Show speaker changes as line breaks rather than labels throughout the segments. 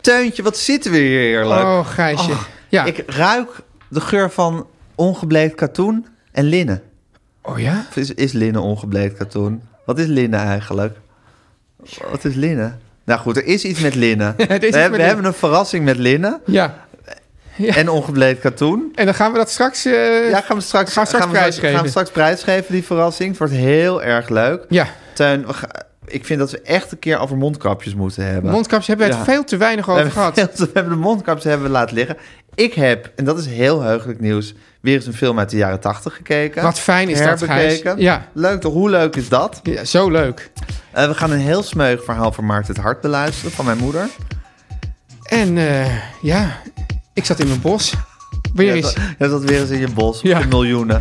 Teuntje, wat zitten we hier heerlijk.
Oh, Gijsje.
Oh,
ja.
Ik ruik de geur van ongebleekt katoen en linnen.
Oh ja?
Of is, is linnen ongebleekt katoen? Wat is linnen eigenlijk? Wat is linnen? Nou goed, er is iets met linnen.
is
we
iets
hebben,
met
we
linnen.
hebben een verrassing met linnen
Ja.
en ongebleekt katoen.
En dan gaan we dat straks... eh,
Ja, gaan we straks,
Gaan we straks
gaan we
prijsgeven.
gaan we straks prijsgeven, die verrassing. Het wordt heel erg leuk.
ja.
Tuin, we ga- ik vind dat we echt een keer over mondkapjes moeten hebben.
Mondkapjes hebben we het
Ja.
veel te weinig
we
over
hebben,
gehad.
veel te- we hebben de mondkapjes hebben we laten liggen. Ik heb, en dat is heel heugelijk nieuws, weer eens een film uit de jaren tachtig gekeken.
Wat fijn is dat, Gijs.
Herbekeken.
Ja.
Leuk toch? Hoe leuk is dat?
Ja, zo leuk.
Eh, we gaan een heel smeug verhaal van Maarten het Hart beluisteren van mijn moeder.
En eh, ja, ik zat in mijn bos. Weer
Ja,
eens.
dat, ja, dat weer eens in je bos.
Ja.
Ja. miljoenen.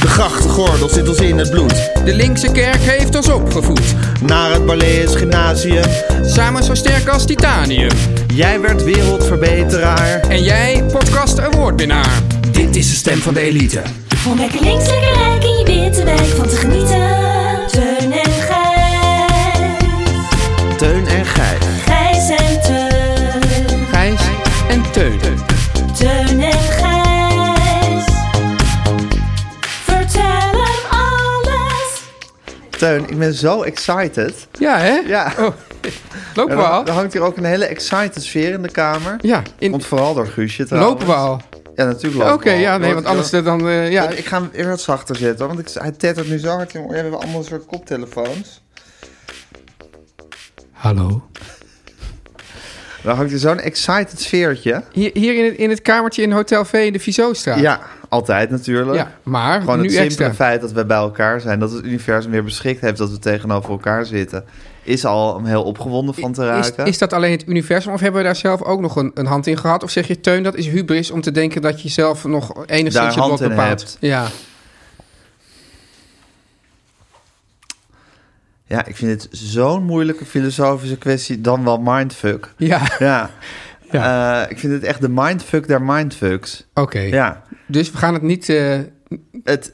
De grachtengordel zit ons in het bloed.
De linkse kerk heeft ons opgevoed.
Naar het Balees Gymnasium.
Samen zo sterk als titanium.
Jij werd wereldverbeteraar.
En jij, podcast awardwinnaar. Dit is de stem van de elite.
Om lekker links, lekker rijk in je witte wijk van te genieten. Teun en Gijs.
Teun en Gijs.
Gijs en Teun.
Gijs en Teun.
Teun en Gijs. Vertel hem alles.
Teun, ik ben zo excited.
Ja, hè?
Ja.
Oh, lopen
Er,
we al?
er hangt hier ook een hele excited sfeer in de kamer.
Ja, in-
Komt vooral door Guusje trouwens.
Lopen we al?
Ja, natuurlijk lopen
Oké,
we al.
ja, nee,
Wordt-
want anders dan... eh, ja,
Ja, ik ga hem weer wat zachter zetten, hoor, want ik, hij tettert nu zo hard in mijn oor. Ja, We hebben allemaal een soort koptelefoons.
Hallo?
Dan hangt er zo'n excited sfeertje.
Hier, hier in, het, in het kamertje in Hotel V in de Vizostraat.
Ja, altijd natuurlijk.
Ja, maar
Gewoon
nu
het simpele
extra.
feit dat we bij elkaar zijn, dat het universum weer beschikt heeft dat we tegenover elkaar zitten, is al om heel opgewonden van te
Is,
raken.
is dat alleen het universum of hebben we daar zelf ook nog een, een hand in gehad? Of zeg je, Teun, dat is hubris om te denken dat je zelf nog enigszins
Daar
je
hand
lot
in
bepaalt?
hebt.
Ja.
Ja, ik vind het zo'n moeilijke filosofische kwestie, dan wel mindfuck.
Ja,
Ja, Eh, ik vind het echt de mindfuck der mindfucks.
oké.
Ja,
Dus we gaan het niet... eh,
het...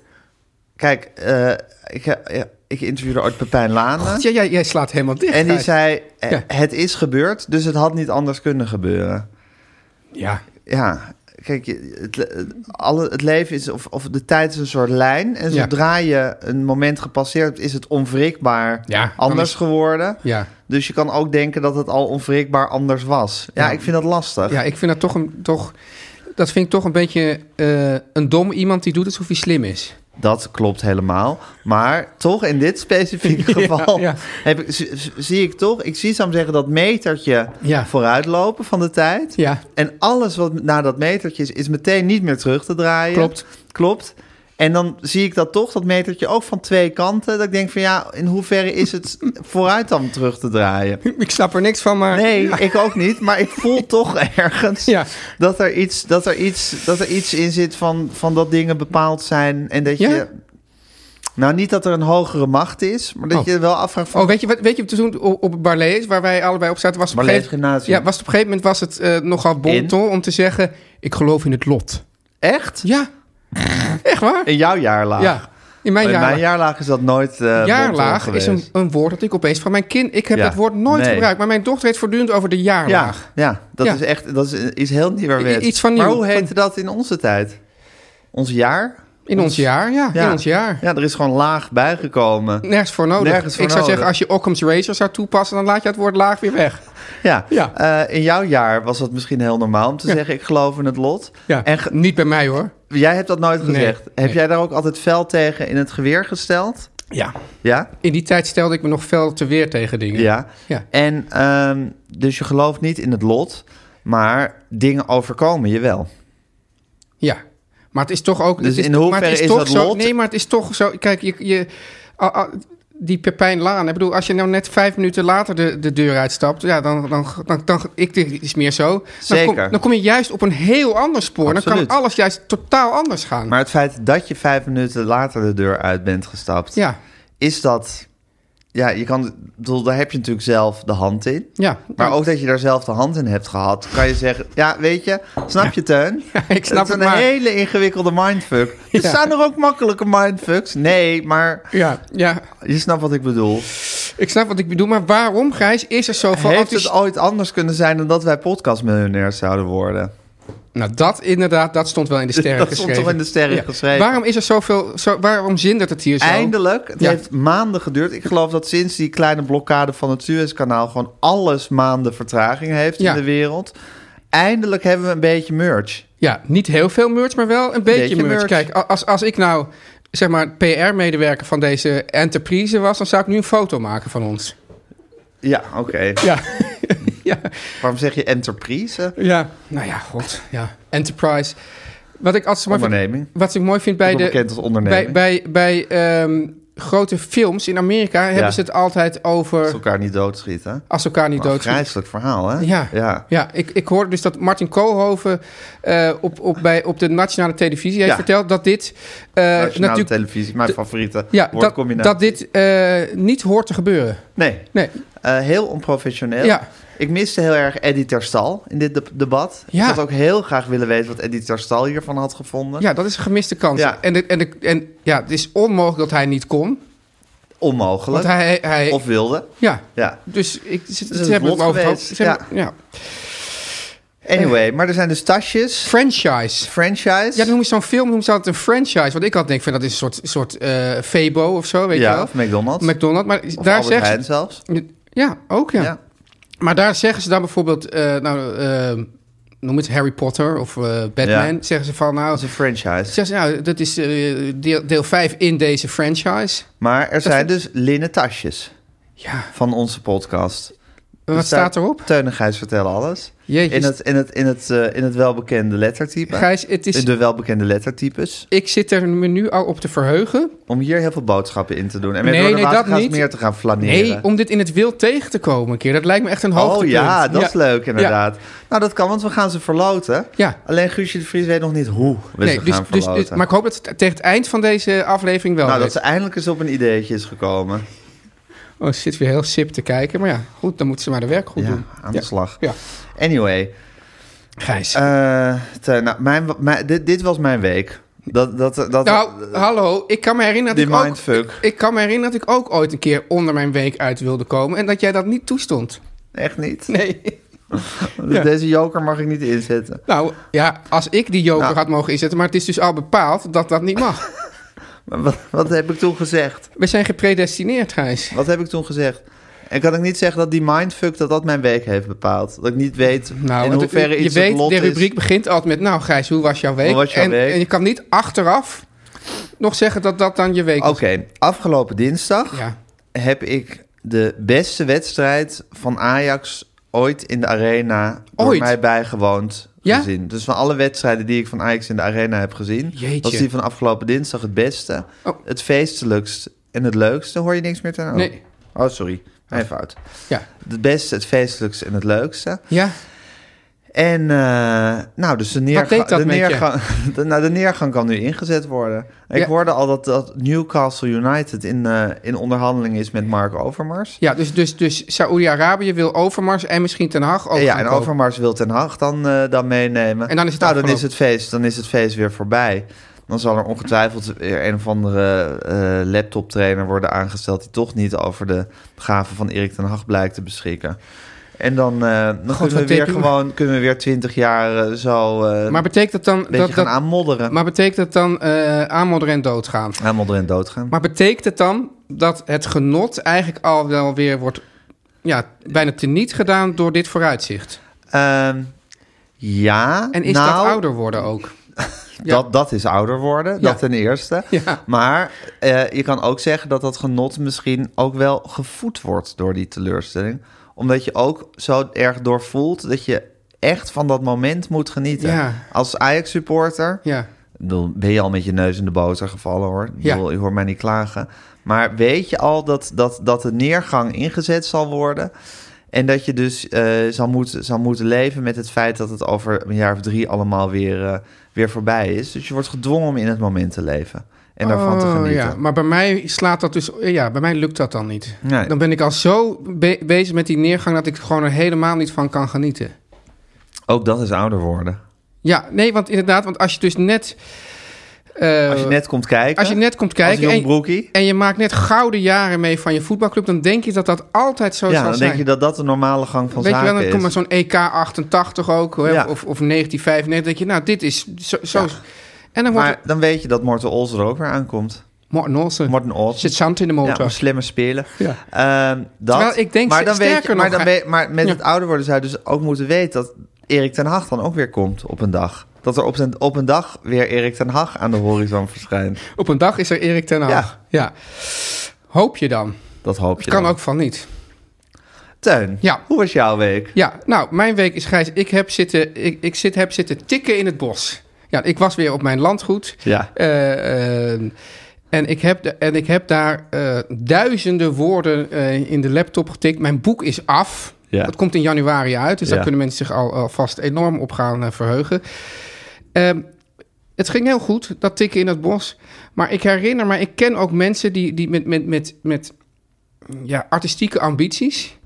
Kijk, eh, ik, ja, ik interviewde ooit Pepijn Lane.
God, jij, jij- jij slaat helemaal dicht.
En die
Gijs.
zei, eh,
Oh, Ja.
het is gebeurd, dus het had niet anders kunnen gebeuren.
Ja,
Ja, kijk, je- het, le- alle, het leven is, of, of de tijd is een soort lijn. En
Ja.
zodra je een moment gepasseerd hebt, is het onwrikbaar
Ja, dan
anders
is-
geworden.
ja.
Dus je kan ook denken dat het al onwrikbaar anders was. Ja,
Ja.
ik vind dat lastig.
ja, ik vind dat toch een... Toch, dat vind ik toch een beetje eh, een dom iemand die doet alsof hij slim is.
Dat klopt helemaal. Maar toch, in dit specifieke geval
ja.
Heb ik, z- z- zie ik toch... Ik zie Sam zeggen dat metertje
Ja.
vooruitlopen van de tijd.
Ja,
En alles wat na dat metertje is, is meteen niet meer terug te draaien.
Klopt.
Klopt. En dan zie ik dat toch, dat metertje ook van twee kanten. Dat ik denk van ja, in hoeverre is het vooruit dan terug te draaien?
ik snap er niks van, maar...
Nee, ik ook niet. Maar ik voel toch ergens
Ja.
dat, er iets, dat, er iets, dat er iets in zit van, van dat dingen bepaald zijn. En dat
Ja?
je... Nou, niet dat er een hogere macht is, maar dat
Oh.
je wel afvraagt van...
Oh, weet je, wat, weet je toen op, op het Barlees, waar wij allebei op zaten, was op een
Barlees
gegeven-
Gymnasium.
Ja, was op een gegeven moment was het eh, nogal bonton om te zeggen, ik geloof in het lot.
Echt?
Ja, echt waar?
In jouw jaarlaag?
Ja. In mijn
In
jaar.
mijn jaarlaag is dat nooit eh
jaarlaag
mondvol
is een,
geweest.
een woord dat ik opeens van mijn kind... Ik heb
Ja.
het woord nooit
Nee.
gebruikt, maar mijn dochter heeft voortdurend over de
Ja,
jaarlaag.
ja, dat
Ja.
is echt dat is iets heel nieuwerwets.
I- iets van
maar
nieuw-
hoe
van-
heette dat in onze tijd? Ons jaar?
In ons jaar, ja. In ons jaar.
Ja, er is gewoon laag bijgekomen.
Nergens voor nodig.
Nergens voor
ik zou
nodig.
zeggen, als je Occam's Razor zou toepassen... dan laat je het woord laag weer weg.
Ja.
Ja.
Eh, in jouw jaar was dat misschien heel normaal om te zeggen: ik geloof in het lot.
Ja,
En ge-
niet bij mij hoor.
jij hebt dat nooit
Nee.
gezegd. Heb
Nee.
jij daar ook altijd fel tegen in het geweer gesteld?
Ja.
Ja.
In die tijd stelde ik me nog fel te weer tegen dingen.
Ja.
Ja.
En ehm, dus je gelooft niet in het lot, maar dingen overkomen je wel.
Ja. Maar het is toch ook...
Dus
het is,
in
maar
hoeverre
het
is
toch
dat
zo,
lot?
Nee, maar het is toch zo... Kijk, je... je a- a- die Pepijn Laan. Ik bedoel, als je nou net vijf minuten later de, de deur uitstapt... Ja, dan... dan, dan, dan ik denk, het is meer zo. Dan
Zeker.
Kom, dan kom je juist op een heel ander spoor. Dan
Absoluut.
kan alles juist totaal anders gaan.
Maar het feit dat je vijf minuten later de deur uit bent gestapt,
Ja.
is dat. Ja, je kan, ik bedoel, daar heb je natuurlijk zelf de hand in.
Ja.
Maar
Nou,
ook dat je daar zelf de hand in hebt gehad, kan je zeggen: Ja, weet je, snap je, Teun?
Ja, ik snap
Het is
het,
een
maar-
hele ingewikkelde mindfuck. Er
Ja.
staan er ook makkelijke mindfucks. Nee, maar
Ja, ja,
je snapt wat ik bedoel.
ik snap wat ik bedoel, maar waarom, Gijs, is er zoveel
Heeft
enthousi-
het ooit anders kunnen zijn dan dat wij podcastmiljonairs zouden worden?
Nou, dat inderdaad, dat stond wel in de sterren
Dat stond
geschreven.
toch in de sterren geschreven?
Waarom is er zoveel, zo, waarom zindert het hier zo?
Eindelijk, het
Ja.
heeft maanden geduurd. Ik geloof dat sinds die kleine blokkade van het Suezkanaal... gewoon alles maanden vertraging heeft
Ja.
in de wereld. Eindelijk hebben we een beetje merch.
Ja, niet heel veel merch, maar wel een beetje,
Beetje
merch.
merch.
Kijk, a- als, als ik nou, zeg maar, PR-medewerker van deze enterprise was, dan zou ik nu een foto maken van ons.
Ja, oké.
Ja, ja,
Waarom zeg je enterprise?
ja. Nou ja, god, ja. Enterprise. Wat ik altijd mooi vind-
Onderneming.
Wat ik mooi vind bij
Ook wel
de.
bekend als
bij
onderneming.
bij, bij ehm, grote films in Amerika hebben ze het altijd over.
Als elkaar niet doodschieten.
Als elkaar niet
Een
doodschieten.
vreselijk verhaal, hè?
Ja, ja.
ja.
ik, ik hoorde dus dat Martin Koolhoven eh, op, op, bij, op de nationale televisie heeft
Ja.
verteld dat dit eh,
Nationale
natuurlijk
nou televisie, mijn favoriete
ja, dat,
woordcombinatie.
dat dit eh, niet hoort te gebeuren.
Nee,
Nee,
Eh, heel onprofessioneel.
Ja.
Ik miste heel erg Eddie Terstal in dit de- debat.
Ja.
Ik had ook heel graag willen weten wat Eddie Terstal hiervan had gevonden.
ja, dat is een gemiste kans.
Ja.
En, de, en, de, en ja, het is onmogelijk dat hij niet kon. Want
Onmogelijk.
hij, hij
Of wilde.
ja.
Ja.
Dus ik, ze, ze
een
hebben
vlot
hem over.
geweest,
Ze hebben- ja.
Anyway, maar er zijn dus tasjes,
Franchise.
franchise.
Ja, dan noem je zo'n film, noem ze altijd een franchise. Want ik had denk van dat is een soort, soort eh, Febo of zo, weet
Ja,
je wel.
of McDonald's.
McDonald's, maar
of
daar
Albert Heijn
zeggen ze...
zelfs.
Ja, ook ja.
Ja.
Maar daar zeggen ze dan bijvoorbeeld, eh, nou, eh, noem het Harry Potter of eh, Batman.
Ja.
Zeggen ze van, nou,
Dat is een franchise.
zeggen ze, nou dat is eh, deel, deel 5 in deze franchise.
Maar er zijn dus linnen tasjes
Ja,
van onze podcast.
wat
Dus
staat
daar-
erop?
Teun en Gijs vertellen alles.
Jeetje.
In het, in, het, in, het, eh, in het welbekende lettertype.
Gijs, het is-
In de welbekende lettertypes.
Ik zit er me nu al op te verheugen.
Om hier heel veel boodschappen in te doen. En met
Nee,
door de
nee, dat
watergaas
niet.
meer te gaan flaneren.
Nee, om dit in het wild tegen te komen een keer. Dat lijkt me echt een
Oh
hoogtepunt.
ja, dat is leuk
Ja.
inderdaad. Nou, dat kan, want we gaan ze verloten.
Ja.
Alleen Guusje de Vries weet nog niet hoe we
Nee,
ze
dus,
gaan
dus,
verloten.
maar ik hoop dat het tegen het eind van deze aflevering wel
nou, dat
weet.
ze eindelijk eens op een ideetje is gekomen.
Oh, ze zit weer heel sip te kijken. Maar ja, goed, dan moeten ze maar de werk goed
ja,
doen.
aan de slag.
Ja.
Anyway,
Gijs.
eh, Teun, nou, mijn, mijn- dit, dit was mijn week. Dat, dat, dat, eh,
nou, hallo, ik kan me herinneren dat
die
ik ook...
mindfuck.
Ik kan me herinneren dat ik ook ooit een keer onder mijn week uit wilde komen... en dat jij dat niet toestond.
Echt niet.
Nee.
Dus Deze joker mag ik niet inzetten.
Nou, ja, als ik die joker
Nou.
had mogen inzetten... maar het is dus al bepaald dat dat niet mag.
Maar wat, wat heb ik toen gezegd?
We zijn gepredestineerd, Gijs.
Wat heb ik toen gezegd? En kan ik niet zeggen dat die mindfuck dat dat mijn week heeft bepaald. Dat ik niet weet
Nou,
in
want
hoeverre
je
iets het
weet,
lot
de
is.
rubriek begint altijd met... nou, Gijs, hoe was jouw week?
Hoe was jouw
en,
week?
en je kan niet achteraf nog zeggen dat dat dan je week
Oké,
was.
afgelopen dinsdag
Ja.
heb ik de beste wedstrijd van Ajax ooit in de arena door
Ooit?
mij bijgewoond
Ja?
gezien. Dus van alle wedstrijden die ik van Ajax in de arena heb gezien,
Jeetje.
was die van afgelopen dinsdag het beste,
Oh.
het feestelijkst en het leukste. Hoor je niks meer ten? Oh.
Nee.
Oh, sorry. Mijn fout.
Ja.
Het beste, het feestelijkste en het leukste.
Ja.
En eh, nou, dus de, neerga-
deed dat
de
met je?
neergang, de, nou, de neergang kan nu ingezet worden. Ik
Ja.
hoorde al dat, dat Newcastle United in, eh, in onderhandeling is met Mark Overmars.
Ja, dus, dus, dus Saoedi-Arabië wil Overmars en misschien Ten Haag ook
En ja,
gaan
en
kopen.
Overmars wil Ten Haag dan, eh, dan meenemen.
En dan is het
nou, dan
afgelopen.
is het feest, dan is het feest weer voorbij. Dan zal er ongetwijfeld weer een of andere eh laptoptrainer worden aangesteld... die toch niet over de gaven van Erik ten Hag blijkt te beschikken. En dan, eh, dan
God,
kunnen we
wat
weer
denk je-
gewoon kunnen we weer twintig jaar eh, zo eh,
Maar
een
betekent dat dan...
beetje
Dat,
gaan
dat,
aanmodderen.
maar betekent dat dan eh aanmodderen en doodgaan?
Aanmodderen en doodgaan.
Maar betekent het dan dat het genot eigenlijk al wel weer wordt ja, bijna teniet gedaan door dit vooruitzicht?
Ehm, ja,
En is
nou,
dat ouder worden ook?
Dat, dat is ouder worden, dat ten eerste.
Ja.
Maar eh, je kan ook zeggen dat dat genot misschien ook wel gevoed wordt door die teleurstelling. Omdat je ook zo erg doorvoelt dat je echt van dat moment moet genieten.
Ja.
Als Ajax-supporter
Ja.
ik bedoel, ben je al met je neus in de boter gevallen hoor. Ik
Ja.
bedoel, je hoort mij niet klagen. Maar weet je al dat, dat, dat de neergang ingezet zal worden? En dat je dus eh, zal, moeten, zal moeten leven met het feit dat het over een jaar of drie allemaal weer, eh, weer voorbij is. Dus je wordt gedwongen om in het moment te leven en daarvan te
Oh,
genieten.
Ja, maar bij mij slaat dat dus... Ja, bij mij lukt dat dan niet.
Nee.
Dan ben ik al zo be- bezig met die neergang... dat ik gewoon er helemaal niet van kan genieten.
Ook dat is ouder worden.
Ja, nee, want inderdaad, want als je dus net... eh,
Als je net komt kijken.
als je net komt kijken
Als jong
en-
broekie.
en je maakt net gouden jaren mee van je voetbalclub... dan denk je dat dat altijd zo
Ja,
zal
dan
zijn.
denk je dat dat de normale gang van
Weet je wel,
zaken
dan
is.
komt maar zo'n EK 88 ook, hè,
Ja.
of, of 1995. Dan denk je, nou, dit is zo. zo- En dan wordt
Maar dan weet je dat Morten Ols er ook weer aankomt.
het Morten Olsen.
Morten Ols.
Zit zand in de motor.
Ja, slimme spelen.
Ja.
Ehm, dat.
Terwijl ik denk,
maar dan
sterker
weet je, maar,
nog,
dan
hij-
weet, maar met
Ja.
het ouder worden zou je dus ook moeten weten dat Erik ten Hag dan ook weer komt op een dag. Dat er op, zijn, op een dag weer Erik ten Hag aan de horizon verschijnt.
Op een dag is er Erik ten Hag. Ja.
Ja.
Hoop je dan.
Dat hoop je
Kan
dan.
ook van niet.
Teun,
Ja.
hoe was jouw week?
Ja, nou, mijn week is grijs. Ik heb zitten, ik, ik zit, heb zitten tikken in het bos. Ja, ik was weer op mijn landgoed.
Ja.
Eh, eh, en, ik heb, de- en ik heb daar eh, duizenden woorden eh, in de laptop getikt. Mijn boek is af.
Ja.
Dat komt in januari uit. Dus
Ja.
daar kunnen mensen zich al, alvast enorm op gaan eh, verheugen. Ehm, het ging heel goed, dat tikken in het bos. Maar ik herinner me, ik ken ook mensen die, die met, met, met, met ja, artistieke ambities.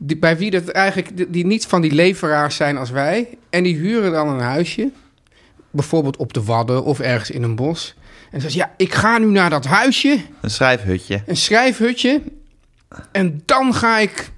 Die, bij wie dat eigenlijk, die, die niet van die leveraars zijn als wij. En die huren dan een huisje. Bijvoorbeeld op de Wadden of ergens in een bos. En ze zegt, ja, ik ga nu naar dat huisje,
Een schrijfhutje.
een schrijfhutje. En dan ga ik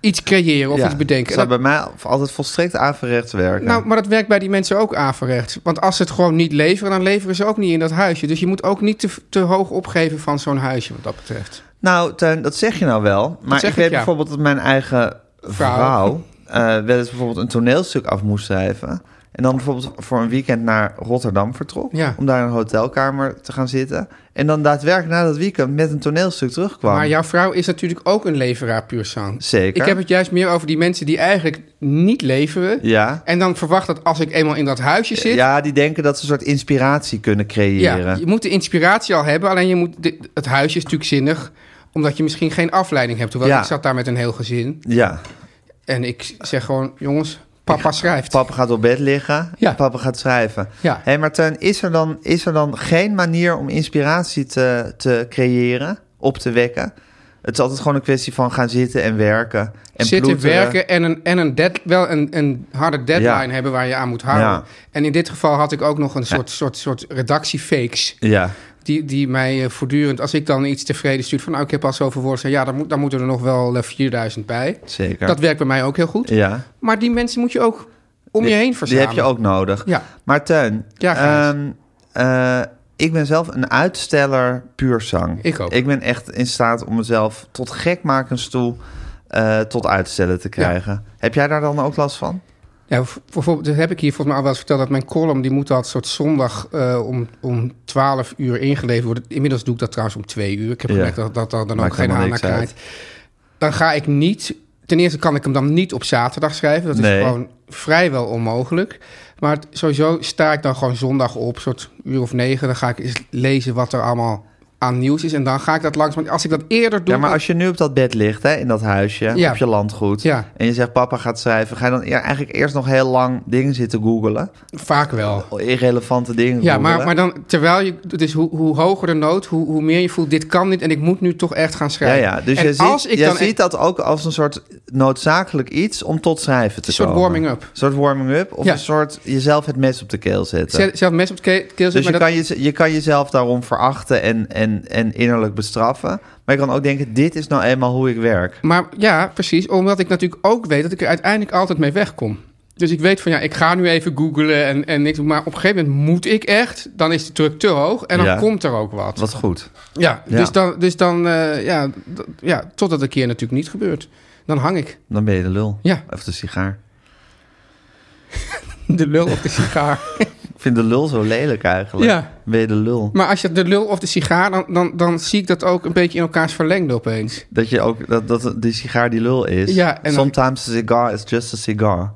iets creëren of
Ja,
iets bedenken.
Zou
Dat-
bij mij altijd volstrekt averechts werken.
nou, maar dat werkt bij die mensen ook averechts. Want als ze het gewoon niet leveren, dan leveren ze ook niet in dat huisje. Dus je moet ook niet te, te hoog opgeven van zo'n huisje wat dat betreft.
Nou, Teun, dat zeg je nou wel. Maar
zeg
ik weet
ik, ja.
bijvoorbeeld dat mijn eigen
Vrouw.
vrouw, eh, wel eens bijvoorbeeld een toneelstuk af moest schrijven. En dan bijvoorbeeld voor een weekend naar Rotterdam vertrok.
Ja.
Om daar in een hotelkamer te gaan zitten. En dan daadwerkelijk na dat weekend met een toneelstuk terugkwam.
Maar jouw vrouw is natuurlijk ook een leveraar puur sang.
Zeker.
Ik heb het juist meer over die mensen die eigenlijk niet leveren.
Ja.
En dan verwacht dat als ik eenmaal in dat huisje zit...
ja, die denken dat ze een soort inspiratie kunnen creëren.
Ja, je moet de inspiratie al hebben, alleen je moet de- het huisje is natuurlijk zinnig omdat je misschien geen afleiding hebt. Hoewel
Ja.
ik zat daar met een heel gezin.
Ja.
En ik zeg gewoon, jongens, papa schrijft.
Papa gaat op bed liggen.
Ja.
Papa gaat schrijven.
Ja.
Hé, maar Teun, is er, dan, is er dan geen manier om inspiratie te, te creëren, op te wekken? Het is altijd gewoon een kwestie van gaan zitten en werken. En
Zitten,
ploeteren.
werken en, een, en een dead, wel een, een harde deadline
Ja.
hebben waar je aan moet houden.
Ja.
En in dit geval had ik ook nog een soort, soort, soort redactiefakes.
Ja.
Die, die mij eh, voortdurend, als ik dan iets tevreden stuur... van nou, ik heb al zoveel woorden, zei, ja, dan, moet, dan moeten er nog wel eh, 4000 bij.
Zeker.
Dat werkt bij mij ook heel goed.
ja.
Maar die mensen moet je ook om je
Die-
heen verzamelen.
Die heb je ook nodig.
Ja.
Maar Teun,
Ja, Gijs.
ehm, eh, ik ben zelf een uitsteller puur zang.
Ik ook.
Ik ben echt in staat om mezelf tot gekmakens toe eh, tot uitstellen te krijgen. Heb jij daar dan ook last van?
Ja, v- bijvoorbeeld, dat heb ik hier volgens mij al wel eens verteld... dat mijn column, die moet altijd soort zondag eh, om, om 12 uur ingeleverd worden. Inmiddels doe ik dat trouwens om 2 uur. Ik heb
Ja.
gemerkt dat dat daar dan
Maakt
ook geen
helemaal
haan naar
niks
krijgt. Dan ga ik niet... Ten eerste kan ik hem dan niet op zaterdag schrijven. Dat is
Nee.
gewoon vrijwel onmogelijk. Maar t- sowieso sta ik dan gewoon zondag op, soort uur of negen. Dan ga ik eens lezen wat er allemaal aan nieuws is. En dan ga ik dat langs. Want als ik dat eerder doe...
Ja, maar
dan-
als je nu op dat bed ligt, hè, in dat huisje,
Ja.
op je landgoed...
Ja.
en je zegt papa gaat schrijven... ga je dan e- eigenlijk eerst nog heel lang dingen zitten googelen?
Vaak wel.
Irrelevante dingen
Ja,
googelen.
maar, maar dan terwijl je... Dus hoe, hoe hoger de nood, hoe, hoe meer je voelt... dit kan niet en ik moet nu toch echt gaan
Ja,
schrijven.
ja. Dus
en
je,
als
ziet,
ik
je
dan
ziet dat ook als een soort noodzakelijk iets om tot schrijven te
Een soort
komen.
warming-up.
Een soort warming-up of
Ja.
een soort jezelf het mes op de keel zetten.
zelf zelf mensen op het keel
dus je,
zetten... maar dat-
kan je, je kan jezelf daarom verachten en, en, en innerlijk bestraffen. Maar je kan ook denken, dit is nou eenmaal hoe ik werk.
Maar ja, precies. Omdat ik natuurlijk ook weet dat ik er uiteindelijk altijd mee wegkom. Dus ik weet van ja, ik ga nu even googlen en, en niks. doen. Maar op een gegeven moment moet ik echt. Dan is de druk te hoog en dan
Ja.
komt er ook wat.
Wat goed.
Ja,
Ja.
dus dan, dus dan eh, ja, d- ja, totdat een keer natuurlijk niet gebeurt. Dan hang ik
Dan ben je de lul.
Ja.
Of de sigaar.
de lul of de sigaar.
Ik vind de lul zo lelijk eigenlijk.
Ja.
Ben je de lul.
maar als je de lul of de sigaar, dan, dan, dan zie ik dat ook een beetje in elkaars verlengde opeens.
Dat je ook, dat, dat die sigaar die lul is.
Ja, en dan-
Sometimes a cigar is just a cigar.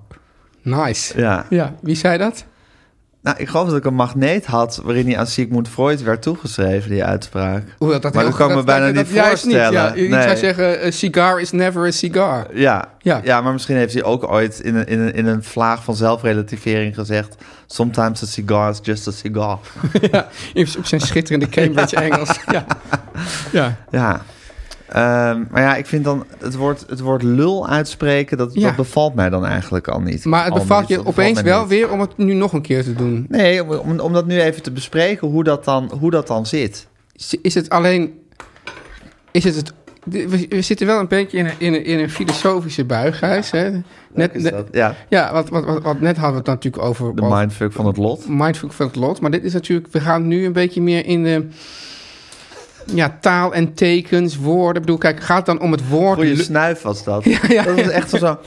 Nice.
Ja.
Ja, wie zei dat?
Nou, ik geloof dat ik een magneet had waarin hij aan Sigmund Freud werd toegeschreven, die uitspraak.
Hoewel dat
Maar
heel-
dat kan ik me bijna
dat-
niet
dat juist
voorstellen.
Niet, ja. Ik
Nee.
zou zeggen, a cigar is never a cigar.
Ja,
Ja.
ja. maar misschien heeft hij ook ooit in een, in een, in een vlaag van zelfrelativering gezegd... Sometimes a cigar is just a cigar.
Op op zijn schitterende Cambridge Engels. Ja. ja.
Ja. Ehm, maar ja, ik vind dan het woord, het woord lul uitspreken, dat,
Ja.
dat bevalt mij dan eigenlijk al niet.
Maar het
Al
bevalt
niet,
je
dat
opeens
mij
wel
niet.
weer om het nu nog een keer te doen.
Nee, om, om, om dat nu even te bespreken, hoe dat dan, hoe dat dan zit.
Is- Is het alleen... Is het het... We, we zitten wel een beetje in een, in een, in een filosofische buighuis. Hè? Net,
Is
net-
dat- ja,
ja, wat, wat, wat, wat net hadden we het natuurlijk over...
de
over
mindfuck van het lot.
mindfuck van het lot. Maar dit is natuurlijk... We gaan nu een beetje meer in de... Ja, taal en tekens, woorden. Ik bedoel, kijk, gaat het dan om het woord...
Goeie
lu-
snuif was dat.
ja,
dat was echt zo.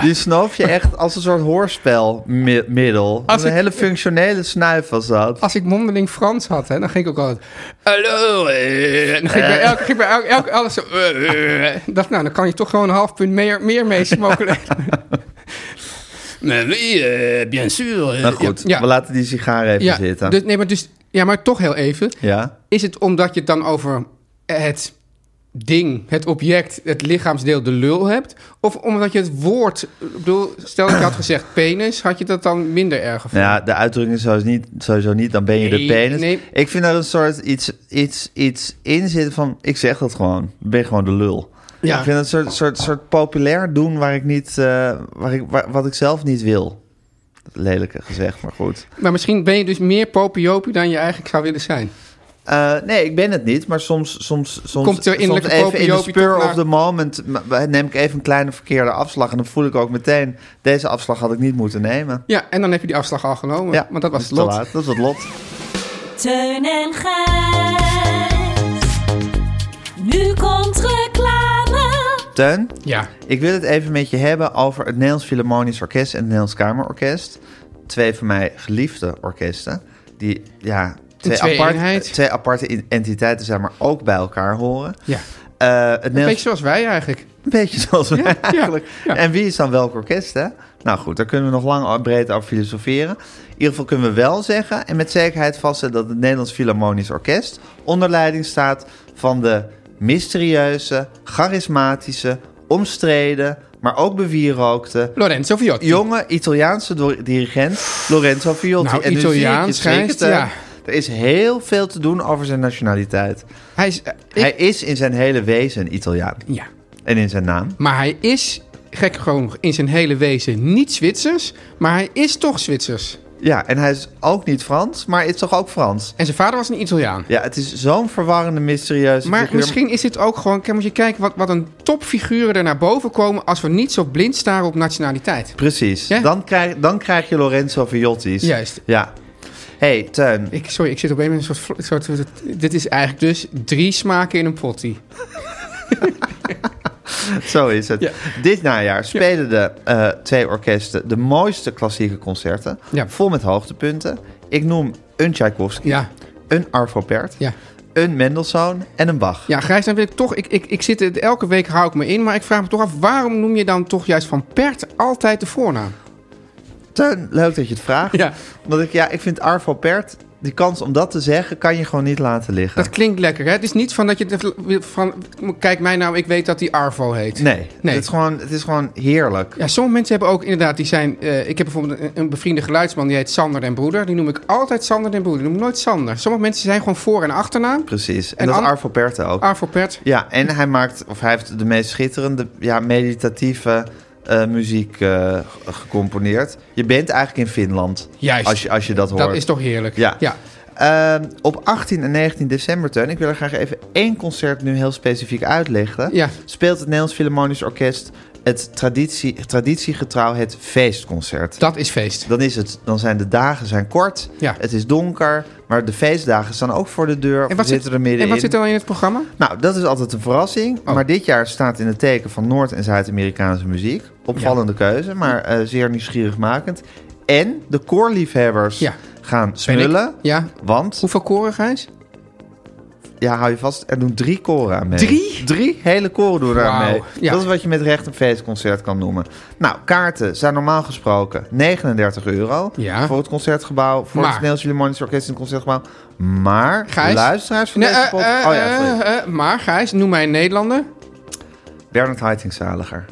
Die snoof je echt als een soort hoorspelmiddel.
Als
een
ik-
hele functionele snuif was dat.
Als ik mondeling Frans had, hè, dan ging ik ook altijd... Hallo! eh." En dan ging ik bij elk, ging ik bij elk, elk alles zo... eh, eh. Ik dacht, nou, dan kan je toch gewoon een half punt meer, meer mee smokkelen.
Maar oui, eh, bien sûr. eh,
nou goed,
ja.
we laten die sigaar even
ja,
zitten.
dus, nee, maar dus, ja, maar toch heel even.
ja.
Is het omdat je het dan over het ding, het object, het lichaamsdeel, de lul hebt? Of omdat je het woord... Ik bedoel, stel dat je had gezegd penis, had je dat dan minder erg gevonden?
Nou ja, de uitdrukking is sowieso niet, sowieso niet dan ben je
Nee,
de penis.
nee.
Ik vind daar een soort iets, iets, iets in zitten van, ik zeg dat gewoon, ik ben gewoon de lul.
Ja.
Ik vind het een soort, soort, soort populair doen waar ik niet, eh, waar ik, waar- wat ik zelf niet wil. Lelijke gezegd, maar goed.
Maar misschien ben je dus meer popiopie dan je eigenlijk zou willen zijn.
Eh, nee, ik ben het niet, maar soms, soms, soms,
Komt er
soms
innerlijke
even in de
popiopie
spur
toch naar-
of the moment m- neem ik even een kleine verkeerde afslag. En dan voel ik ook meteen, deze afslag had ik niet moeten nemen.
Ja, en dan heb je die afslag al genomen.
Ja,
want dat was het
te
lot.
laat. Dat was het lot.
Teun en Gijs. Nu komt reclame.
Teun,
Ja.
ik wil het even met je hebben over het Nederlands Philharmonisch Orkest en het Nederlands Kamerorkest. Twee van mij geliefde orkesten. Die, ja, twee,
twee
apart-
eenheid.
twee aparte in- entiteiten zijn, maar ook bij elkaar horen.
Ja.
Eh, het
Een
Nederlands-
beetje zoals wij eigenlijk.
Een beetje zoals wij
ja,
eigenlijk.
ja.
En wie is dan welk orkest, hè? Nou goed, daar kunnen we nog lang en breed over filosoferen. In ieder geval kunnen we wel zeggen en met zekerheid vaststellen... dat het Nederlands Philharmonisch Orkest onder leiding staat... van de mysterieuze, charismatische, omstreden... maar ook bewierookte...
Lorenzo Viotti.
jonge Italiaanse do- dirigent Lorenzo Viotti.
Nou,
en nu
Italiaans,
zie ik je schrikken,
Gijs,
Teun.
ja.
Er is heel veel te doen over zijn nationaliteit.
Hij is, eh, ik-
Hij is in zijn hele wezen Italiaan.
ja.
En in zijn naam.
Maar hij is, gek gewoon in zijn hele wezen, niet Zwitsers. Maar hij is toch Zwitsers.
Ja, en hij is ook niet Frans, maar is toch ook Frans?
En zijn vader was een Italiaan.
Ja, het is zo'n verwarrende, mysterieuze
Maar
figuur.
misschien is dit ook gewoon... Kijk, moet je kijken wat, wat een topfiguren er naar boven komen... als we niet zo blind staren op nationaliteit.
Precies.
Ja?
Dan, krijg, dan krijg je Lorenzo Viotti's.
Juist.
Ja. Hé, hey, Teun.
Ik, sorry, ik zit op een met een soort, soort... soort- Dit is eigenlijk dus drie smaken in een potty.
Zo is het.
Ja.
Dit najaar spelen de eh, twee orkesten de mooiste klassieke concerten.
Ja.
Vol met hoogtepunten. Ik noem een Tchaikovsky,
Ja,
een Arvo Pärt,
ja.
een Mendelssohn en een Bach.
Ja, Grijs, dan wil ik toch... Ik, ik, ik zit, het- elke week hou ik me in, maar ik vraag me toch af... waarom noem je dan toch juist van Pert altijd de voornaam?
Teun, leuk dat je het vraagt.
Ja.
Omdat ik, ja, ik vind Arvo Pärt, die kans om dat te zeggen kan je gewoon niet laten liggen.
Dat klinkt lekker, hè? Het is niet van dat je... de- Van, kijk mij nou, ik weet dat die Arvo heet.
Nee,
Nee.
Het, is gewoon, het is gewoon heerlijk.
Ja, sommige mensen hebben ook inderdaad, die zijn... eh, ik heb bijvoorbeeld een, een bevriende geluidsman, die heet Sander en Broeder. Die noem ik altijd Sander en Broeder. Die noem ik nooit Sander. Sommige mensen zijn gewoon voor- en achternaam.
Precies. En,
En
dat is
an-
Arvo Perten ook.
Arvo Pert.
Ja, en hij maakt, of hij heeft de meest schitterende, ja, meditatieve eh, muziek eh, g- gecomponeerd. Je bent eigenlijk in Finland.
Juist.
Als je, als je dat hoort.
Dat is toch heerlijk.
Ja.
ja.
Ehm, op 18 en 19 december, Teun, ik wil er graag even één concert nu heel specifiek uitleggen.
Ja.
Speelt het Nederlands Philharmonisch Orkest het traditie, traditiegetrouw het feestconcert.
Dat is feest.
Dan, is het, dan zijn de dagen zijn kort,
Ja.
het is donker, maar de feestdagen staan ook voor de deur.
En
of
wat,
zitten
zit,
er middenin.
en wat zit er dan in het programma?
Nou, dat is altijd een verrassing.
Oh.
Maar dit jaar staat in het teken van Noord- en Zuid-Amerikaanse muziek. Opvallende keuze, maar eh, zeer nieuwsgierigmakend. En de koorliefhebbers
Ja.
gaan
Ben ik-
smullen.
Ja.
Want,
Hoeveel koren, Gijs?
ja, hou je vast, er doen drie koren aan mee.
Drie?
Drie hele koren doen daar
Wauw,
mee.
ja.
Dat is wat je met recht een feestconcert kan noemen. Nou, kaarten zijn normaal gesproken 39 euro.
Ja.
Voor het Concertgebouw, voor
Maar-
het Nederlands Philharmonisch Orkest in het Concertgebouw. Maar,
Gijs?
de luisteraars van
Nee,
deze
eh,
podcast...
eh,
oh ja, sorry.
eh, eh, maar Gijs, noem mij een Nederlander.
Bernard Heitingzaliger.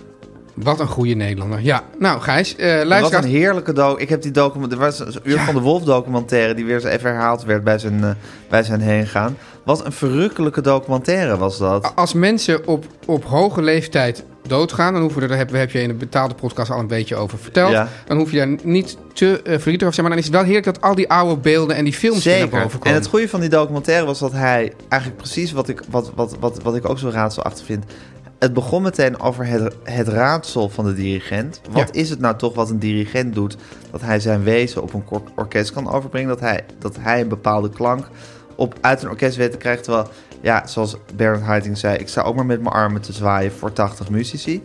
Wat een goede Nederlander. Ja. Nou, Gijs, eh
Wat
luister.
een heerlijke docu. Ik heb die document. Er was een uur
Ja.
van de Wolf documentaire die weer eens even herhaald werd bij zijn, eh, bij zijn heen gaan. Wat een verrukkelijke documentaire was dat.
Als mensen op, op hoge leeftijd doodgaan, dan hoeven we er, daar heb, heb je in de betaalde podcast al een beetje over verteld.
Ja.
Dan hoef je daar niet te eh verdrietig over te zijn. Maar dan is het wel heerlijk dat al die oude beelden en die films weer naar
Zeker.
boven
En
komen.
het goede van die documentaire was dat hij eigenlijk precies wat ik, wat, wat, wat, wat ik ook zo raadselachtig vind. Het begon meteen over het, het raadsel van de dirigent. Wat
Ja.
is het nou toch wat een dirigent doet? Dat hij zijn wezen op een kor- orkest kan overbrengen. Dat hij, dat hij een bepaalde klank op, uit een orkest weet te krijgen. Terwijl, ja, zoals Bernard Haitink zei... ik sta ook maar met mijn armen te zwaaien voor 80 muzici.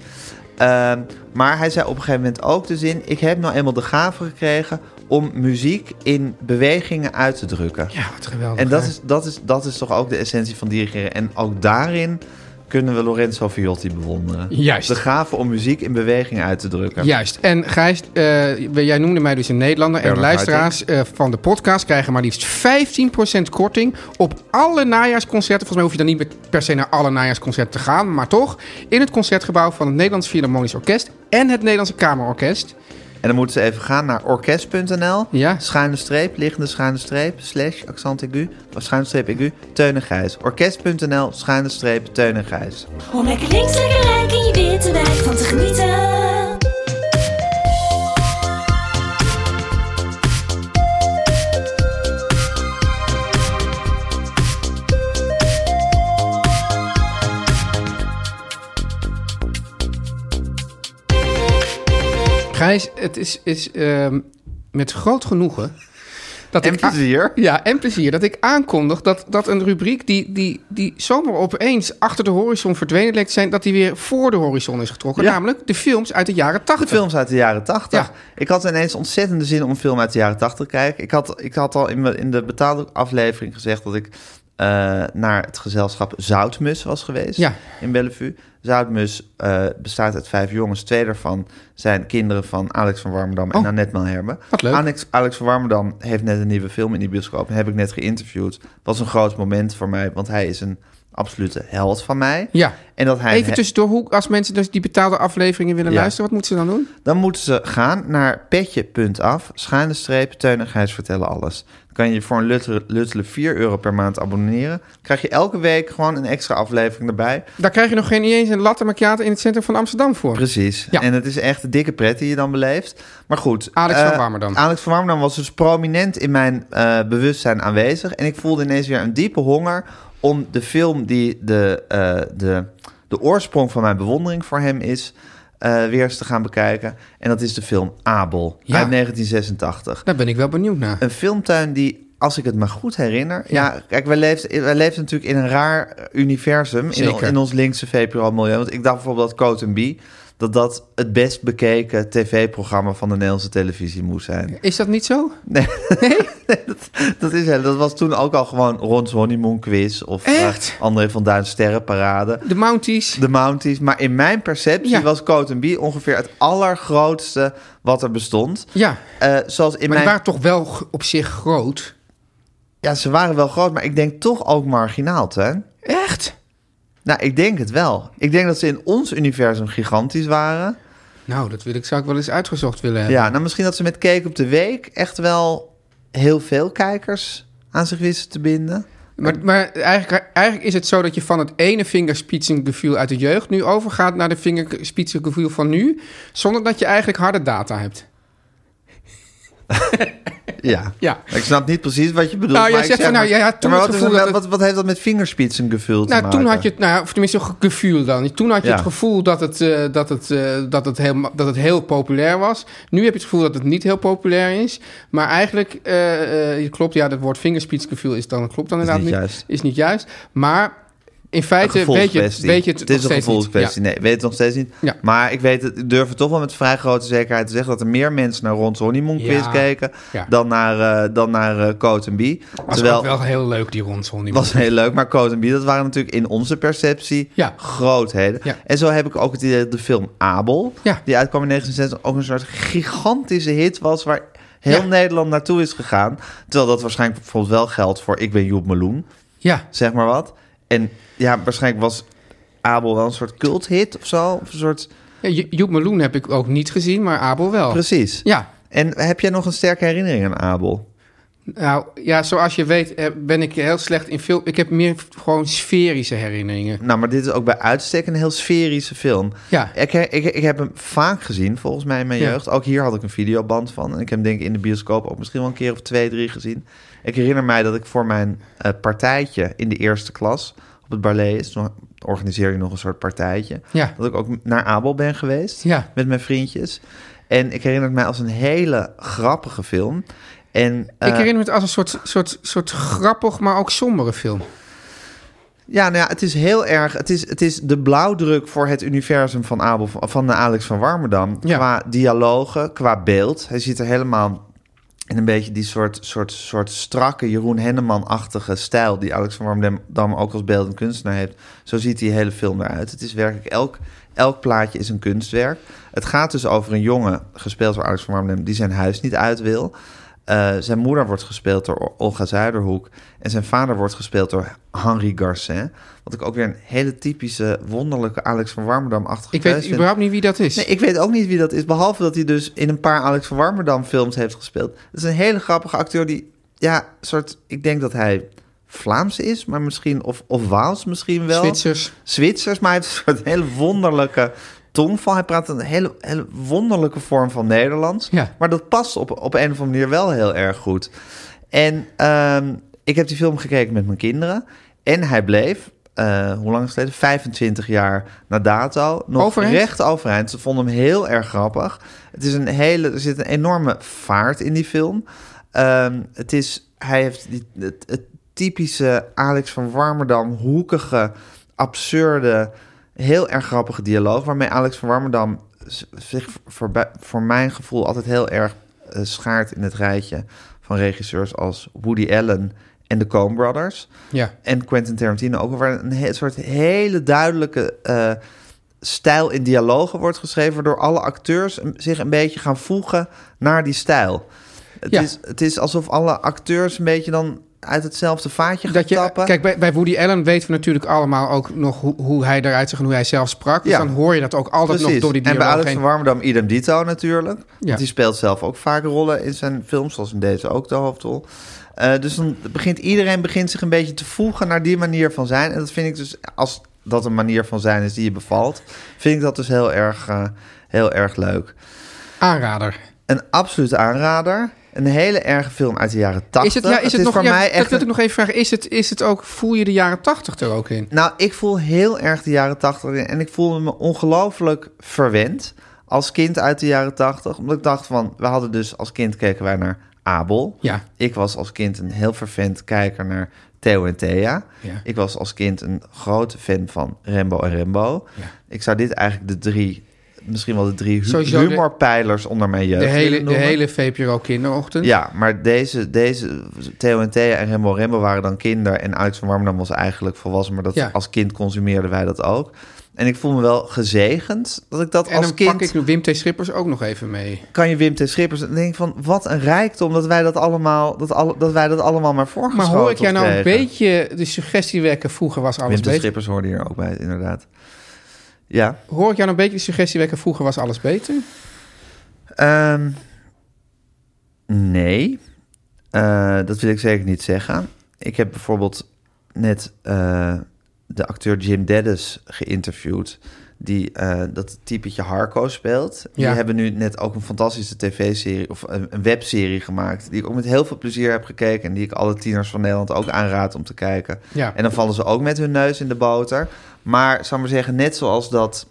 Ehm, maar hij zei op een gegeven moment ook de zin... ik heb nou eenmaal de gave gekregen om muziek in bewegingen uit te drukken.
Ja, wat geweldig.
En dat
hè?
is, dat, is, dat is toch ook de essentie van dirigeren. En ook daarin kunnen we Lorenzo Viotti bewonderen.
Juist.
De gave om muziek in beweging uit te drukken.
Juist. En Gijs, eh, jij noemde mij dus een Nederlander. En
Bernard
luisteraars eh, van de podcast krijgen maar liefst 15% korting op alle najaarsconcerten. Volgens mij hoef je dan niet met- per se naar alle najaarsconcerten te gaan. Maar toch, in het concertgebouw van het Nederlands Philharmonisch Orkest en het Nederlandse Kamerorkest.
En dan moeten ze even gaan naar orkest.nl.
Ja.
Schuine streep, liggende schuine streep, slash, accent aigu. Of schuine streep aigu, Teun en Gijs. Orkest.nl, schuine streep, Teun en Gijs.
Om lekker links, lekker rijk in je witte wijk van te genieten.
Gijs, het is, is ehm, met groot genoegen... Dat
En
ik a-
plezier.
Ja, en plezier. Dat ik aankondig dat, dat een rubriek die, die, die zomaar opeens achter de horizon verdwenen leek te zijn, dat die weer voor de horizon is getrokken.
Ja.
Namelijk de films uit de jaren 80.
films uit de jaren 80.
Ja.
Ik had ineens ontzettende zin om een film uit de jaren 80 te kijken. Ik had, ik had al in, mijn- in de betaalde aflevering gezegd dat ik eh, naar het gezelschap Zoutmus was geweest
Ja.
in Bellevue. Zoutmus eh, bestaat uit vijf jongens. Twee daarvan zijn kinderen van Alex van Warmerdam en
Oh.
Annette Malherbe.
Wat leuk.
Alex, Alex van Warmerdam heeft net een nieuwe film in die bioscoop. Heb ik net geïnterviewd. Was een groot moment voor mij, want hij is een absolute held van mij.
Ja.
En dat hij
Even tussendoor, hoe, als mensen dus die betaalde afleveringen willen
Ja.
luisteren, wat moeten ze dan doen?
Dan moeten ze gaan naar petje.af, schuine streep, Teun en Gijs vertellen alles. Dan kan je je voor een luttele, luttele 4 euro per maand abonneren. Dan krijg je elke week gewoon een extra aflevering erbij.
Daar krijg je nog geen niet eens een latte macchiato in het centrum van Amsterdam voor.
Precies.
Ja.
En het is echt de dikke pret die je dan beleeft. Maar goed.
Alex
eh,
van Warmerdam.
Alex van Warmerdam was dus prominent in mijn eh, bewustzijn aanwezig. En ik voelde ineens weer een diepe honger om de film die de, eh, de, de oorsprong van mijn bewondering voor hem is... eh, weer eens te gaan bekijken. En dat is de film Abel
Ja.
uit 1986.
Daar ben ik wel benieuwd naar.
Een filmtuin die, als ik het me goed herinner... Ja, kijk, wij leefden, wij leefden natuurlijk in een raar eh, universum... In,
Zeker.
in ons linkse VPRO-milieu. Want ik dacht bijvoorbeeld dat Coat B... dat dat het best bekeken tv-programma van de Nederlandse televisie moest zijn.
Is dat niet zo?
Dat, is, hè, dat was toen ook al gewoon Ron's Honeymoon Quiz... of eh,
Echt?
André van Duin Sterrenparade...
De Mounties.
De Mounties, maar in mijn perceptie
Ja.
was Coat B ongeveer het allergrootste wat er bestond.
Ja, maar
Eh, zoals in
die
mijn...
waren toch wel g- op zich groot.
Ja, ze waren wel groot, maar ik denk toch ook marginaal, Teun.
Echt?
Nou, ik denk het wel. Ik denk dat ze in ons universum gigantisch waren.
Nou, dat wil ik, zou ik wel eens uitgezocht willen hebben.
Ja, nou misschien dat ze met Cake op de Week echt wel heel veel kijkers aan zich wisten te binden.
Maar, maar eigenlijk, eigenlijk is het zo dat je van het ene vingerspitsengevoel uit de jeugd nu overgaat naar de vingerspitsengevoel van nu, zonder dat je eigenlijk harde data hebt.
Ja.
Ja.
Ik snap niet precies wat je bedoelt.
Nou, jij
maar ik
zegt
zeg
van, nou,
maar-
jij had toen
maar
het
wat, is
gevoel
dat-
dat het-
wat, wat heeft dat met vingerspitsen gevuld?
Nou, toen had je het, nou, ja, of tenminste een gevoel dan. Toen had je
Ja.
het gevoel dat het, eh, dat, het, eh, dat, het heel, dat het heel populair was. Nu heb je het gevoel dat het niet heel populair is. Maar eigenlijk, eh, eh, je klopt, ja, dat woord vingerspitsgevoel is dan, klopt dan inderdaad
niet
niet.
juist.
Is niet juist. Maar in feite eh, weet je, het-
gevoelskwestie.
weet je het,
het is
nog
een
steeds niet.
gevoelskwestie. Nee, weet het nog steeds niet.
Ja.
Maar ik, weet het, ik durf het toch wel met vrij grote zekerheid te zeggen... dat er meer mensen naar Ron's Honeymoon Quiz
Ja.
keken...
Ja.
dan naar, eh dan naar eh, Coat and Bee.
Ja. Was
Terwijl,
ook wel heel leuk, die rondzon. die
was heel leuk, maar Coat and Bee... dat waren natuurlijk in onze perceptie
Ja.
grootheden.
Ja.
En zo heb ik ook het idee dat de film Abel...
Ja.
die uitkwam in 1960 ook een soort gigantische hit was... waar heel
Ja.
Nederland naartoe is gegaan. Terwijl dat waarschijnlijk bijvoorbeeld wel geldt voor Ik ben Joep Meloen
Ja,
zeg maar wat. En ja, waarschijnlijk was Abel wel een soort cult-hit of zo. Of een soort...
ja Jo- Joep Meloen heb ik ook niet gezien, maar Abel wel.
Precies.
Ja,
En heb jij nog een sterke herinnering aan Abel?
nou ja, zoals je weet eh, ben ik heel slecht in film. Ik heb meer gewoon sferische herinneringen.
Nou, maar dit is ook bij uitstek een heel sferische film.
Ja.
Ik, he- ik, ik heb hem vaak gezien, volgens mij in mijn
Ja.
jeugd. Ook hier had ik een videoband van. En ik heb hem denk ik in de bioscoop ook misschien wel een keer of twee, drie gezien. Ik herinner mij dat ik voor mijn eh, partijtje in de eerste klas op het ballet is... toen organiseer je nog een soort partijtje.
Ja.
Dat ik ook naar Abel ben geweest.
Ja.
met mijn vriendjes. En ik herinner het mij als een hele grappige film. En, eh,
ik herinner me het als een soort, soort, soort grappig, maar ook sombere film.
Ja, nou ja, het is heel erg. Het is, het is de blauwdruk voor het universum van, Abel, van eh, Alex van Warmerdam.
Ja.
Qua dialogen, qua beeld. Hij zit er helemaal in een beetje die soort, soort, soort strakke Jeroen Henneman-achtige stijl... die Alex van Warmerdam ook als beeldend kunstenaar heeft. Zo ziet die hele film eruit. Het is werkelijk elk, elk plaatje is een kunstwerk. Het gaat dus over een jongen, gespeeld door Alex van Warmerdam... die zijn huis niet uit wil... Eh, zijn moeder wordt gespeeld door Olga Zuiderhoek. En zijn vader wordt gespeeld door Henri Garcin. Wat ik ook weer een hele typische, wonderlijke Alex van Warmerdam-achtige
Ik weet
keus vind.
überhaupt niet wie dat is.
Nee, ik weet ook niet wie dat is. Behalve dat hij dus in een paar Alex van Warmerdam films heeft gespeeld. Dat is een hele grappige acteur die, ja, soort... Ik denk dat hij Vlaams is, maar misschien... Of, of Waals misschien wel.
Zwitsers.
Zwitsers, maar hij heeft een soort hele wonderlijke tongval. Hij praat een hele, hele wonderlijke vorm van Nederlands.
Ja.
Maar dat past op, op een of andere manier wel heel erg goed. En ehm, ik heb die film gekeken met mijn kinderen. En hij bleef, eh, hoe lang is het geleden? 25 jaar na dato. Nog
Overeind?
recht overeind. Ze vonden hem heel erg grappig. Het is een hele, er zit een enorme vaart in die film. Ehm, het is, hij heeft die, het, het typische Alex van Warmerdam hoekige, absurde, heel erg grappige dialoog. Waarmee Alex van Warmerdam z- zich voor, voor mijn gevoel altijd heel erg eh, schaart in het rijtje van regisseurs als Woody Allen en de Coen Brothers.
Ja.
En Quentin Tarantino ook. Waar een he- soort hele duidelijke eh, stijl in dialogen wordt geschreven. Waardoor alle acteurs een- zich een beetje gaan voegen naar die stijl. Het,
Ja.
is, het is alsof alle acteurs een beetje dan uit hetzelfde vaatje gaan
Dat je,
tappen.
kijk, bij, bij Woody Allen weten we natuurlijk allemaal ook nog hoe, hoe hij eruit zag en hoe hij zelf sprak. Dus
Ja.
dan hoor je dat ook altijd nog door die
en bij
dialoog
Alex
heen.
van Warmerdam idem dito natuurlijk.
Ja.
Want die speelt zelf ook vaak rollen in zijn films, zoals in deze ook de hoofdrol. Eh, dus dan begint iedereen begint zich een beetje te voegen naar die manier van zijn. En dat vind ik dus, als dat een manier van zijn is die je bevalt, vind ik dat dus heel erg, eh, heel erg leuk.
Aanrader.
Een absolute aanrader. Een hele erge film uit de jaren 80.
Is het, ja, is het, nog,
voor
ja,
mij
dat
echt
wil ik nog even vragen. Is het, is het ook, voel je de jaren tachtig er ook in?
Nou, ik voel heel erg de jaren tachtig in. En ik voelde me ongelooflijk verwend als kind uit de jaren tachtig. Omdat ik dacht van, we hadden dus als kind keken wij naar Abel.
Ja.
Ik was als kind een heel vervent kijker naar Theo en Thea.
Ja.
Ik was als kind een grote fan van Rembo en Rembo. Ik zou dit eigenlijk de drie misschien wel de drie hu-
Sowieso de-
humorpijlers onder mijn jeugd.
De hele,
willen
de
noemen.
hele VPRO kinderochtend.
Ja, maar deze, deze Theo en Thea en Rembo en Rembo waren dan kinder... en Uit van Warmerdam was eigenlijk volwassen... maar dat,
Ja.
als kind consumeerden wij dat ook. En ik voel me wel gezegend dat ik dat
en
als
dan
kind...
pak ik Wim T. Schippers ook nog even mee.
kan je Wim T. Schippers... en denk ik van, wat een rijkdom dat wij dat allemaal, dat al, dat wij dat allemaal maar
Maar
voorgeschoten
hoor ik jou nou een
kregen.
beetje de suggestie wekken... vroeger was alles
Wim T.
beter.
Schippers hoorde hier ook bij, inderdaad. Ja.
Hoor ik jou nou een beetje de suggestie wekken... vroeger was alles beter?
Ehm, nee, Eh, dat wil ik zeker niet zeggen. Ik heb bijvoorbeeld net eh, de acteur Jim Deddes geïnterviewd... die eh, dat typetje Harco speelt.
Ja.
Die hebben nu net ook een fantastische tv-serie... of eh, een, een webserie gemaakt... die ik ook met heel veel plezier heb gekeken... en die ik alle tieners van Nederland ook aanraad om te kijken.
Ja.
En dan vallen ze ook met hun neus in de boter. Maar, zou ik maar zeggen, net zoals dat...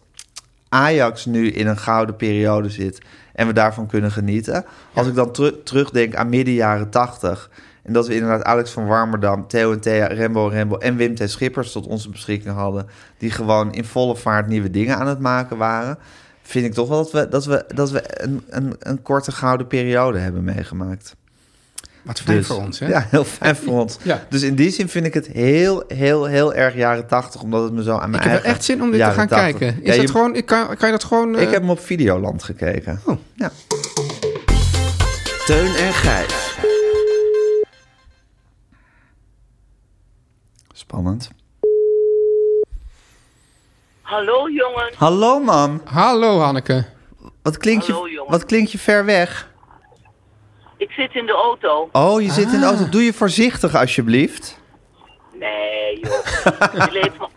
Ajax nu in een gouden periode zit en we daarvan kunnen genieten. Als ik dan teru- terugdenk aan midden jaren 80 en dat we inderdaad Alex van Warmerdam, Theo en Thea, Rembo Rembo en Wim T. Schippers tot onze beschikking hadden, die gewoon in volle vaart nieuwe dingen aan het maken waren, vind ik toch wel dat we, dat we, dat we een, een, een korte gouden periode hebben meegemaakt.
Wat fijn
Dus-
voor ons, hè?
Ja, heel fijn voor ons.
Ja.
Dus in die zin vind ik het heel, heel, heel erg jaren 80, omdat het me zo aan mijn
Ik heb wel
eigen
echt zin om dit te
jaren
gaan
80
kijken. Is
Ja,
dat
je-
gewoon, ik kan, kan je dat gewoon... eh,
ik heb hem op Videoland gekeken.
Oh.
Ja.
Teun en Gijs.
Spannend.
Hallo jongen.
Hallo, mam.
Hallo Hanneke.
Wat klinkt,
Hallo,
je,
jongen.
wat klinkt je ver weg?
Ik zit in de auto.
Oh, je zit in
Ah.
de auto. Doe je voorzichtig, alsjeblieft.
Nee joh. je, leeft maar,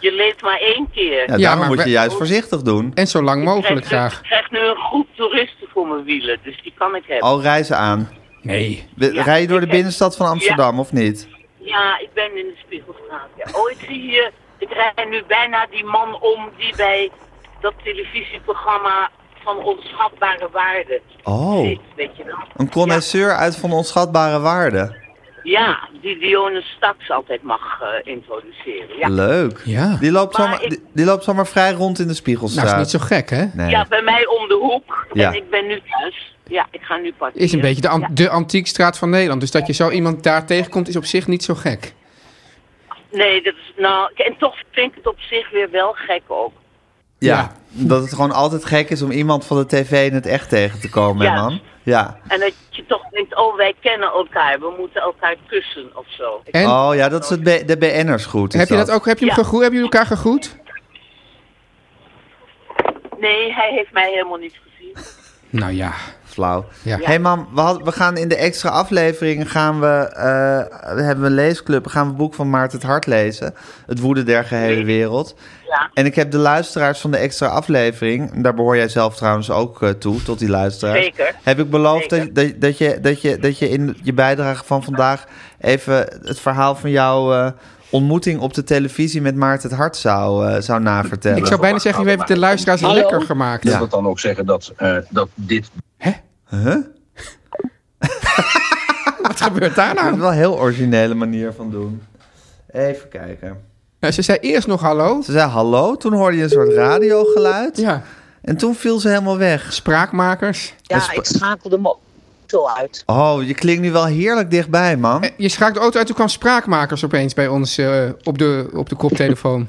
je leeft maar één
Ja,
keer.
Ja,
daarom
maar
moet
we-
je juist voorzichtig doen.
En zo lang mogelijk
ik krijg,
graag.
nu- ik krijg nu een groep toeristen voor mijn wielen, dus die kan ik hebben.
Al reizen aan.
Nee.
We-
Ja,
Rij je door de
ik-
binnenstad van Amsterdam, of niet?
Ja, ik ben in de Spiegelstraat. Ja. Oh, ik zie hier, ik rijd nu bijna die man om die bij dat televisieprogramma van onschatbare waarde
Oh,
zit, weet je wel.
een connoisseur uit van onschatbare waarde.
Ja, ja, die Dionys Staks altijd mag eh, introduceren. Ja.
Leuk.
Ja.
Die loopt,
Maar
zomaar,
ik-
die, die loopt zomaar vrij rond in de
Nou,
Spiegelstraat.
is niet zo gek, hè?
Nee.
ja, bij mij om de hoek
Ja.
en ik ben nu thuis. Ja, ik ga nu parkeren.
Is een beetje de,
Ja.
an- de antiekstraat van Nederland. Dus dat je zo iemand daar tegenkomt is op zich niet zo gek.
Nee, dat is nou. En toch vind ik het op zich weer wel gek ook.
ja. Dat het gewoon altijd gek is om iemand van de tv in het echt tegen te komen, hè,
Ja.
mam? Ja.
En dat je toch denkt, oh, wij kennen elkaar, we moeten elkaar kussen of zo. Ik-
En
Oh ja, dat is het B- de BN'ers goed. is
heb je dat ook? Heb je, hem
Ja.
gegro- heb je elkaar gegroet?
Nee, hij heeft mij helemaal niet gezien.
Nou ja.
Flauw.
Ja.
Hey mam, we, had- we gaan in de extra aflevering gaan we, eh, we hebben een leesclub. We gaan we het boek van Maarten het Hart lezen. Het woede der gehele wereld.
Ja.
En ik heb de luisteraars van de extra aflevering, en daar behoor jij zelf trouwens ook eh, toe, tot die luisteraars.
Zeker.
Heb ik beloofd dat,
Zeker.
dat, dat, je, dat, je, dat je in je bijdrage van vandaag even het verhaal van jouw eh, ontmoeting op de televisie met Maarten het Hart zou, eh, zou navertellen.
Ik zou bijna zeggen, je hebt de luisteraars lekker gemaakt.
Wil dat dan ook zeggen dat, eh, dat dit
Wat gebeurt daar
Dat is
nou?
wel een heel originele manier van doen. Even kijken.
Ja, Nou, ze zei eerst nog hallo.
Ze zei hallo, toen hoorde je een soort radiogeluid.
Ja.
En toen viel ze helemaal weg.
Spraakmakers.
Ja, ik schakelde me zo uit.
Oh, je klinkt nu wel heerlijk dichtbij, man.
Eh, Je schraakt de auto uit, toen kwam spraakmakers opeens bij ons eh, op, de, op de koptelefoon.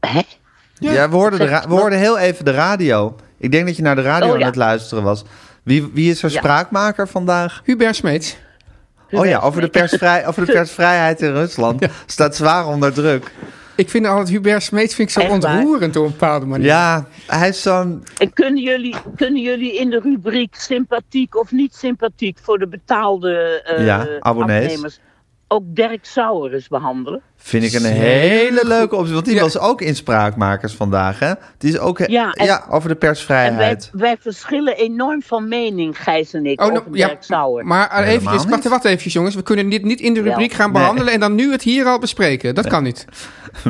Hè?
Ja, we, hoorden de ra- we hoorden heel even de radio. Ik denk dat je naar de radio
Oh, ja.
aan het luisteren was. Wie, wie is er
Ja.
spraakmaker vandaag?
Hubert Smeets.
Oh ja, over de, persvrij, over de persvrijheid in Rusland. Staat zwaar onder druk.
Ik vind altijd Hubert Smeets vind ik zo
Echt waar?
ontroerend op een bepaalde manier.
Ja, hij is zo'n...
En kunnen jullie, kunnen jullie in de rubriek sympathiek of niet sympathiek voor de betaalde eh
Ja, abonnees.
afnemers ook Dirk Sauerus behandelen?
Vind ik een
Zeker.
hele leuke optie. Want die
Ja.
was ook in Spraakmakers vandaag, hè? Die is ook... Ja,
Ja, en-
over de
En wij,
persvrijheid.
wij verschillen enorm van mening, Gijs en ik,
Oh,
over
nou, ja,
Dirk Sauer.
maar
Helemaal
eventjes,
niet.
wacht, wacht eventjes jongens. We kunnen dit niet in de
Wel.
rubriek gaan
Nee.
behandelen en dan nu het hier al bespreken. Dat kan niet.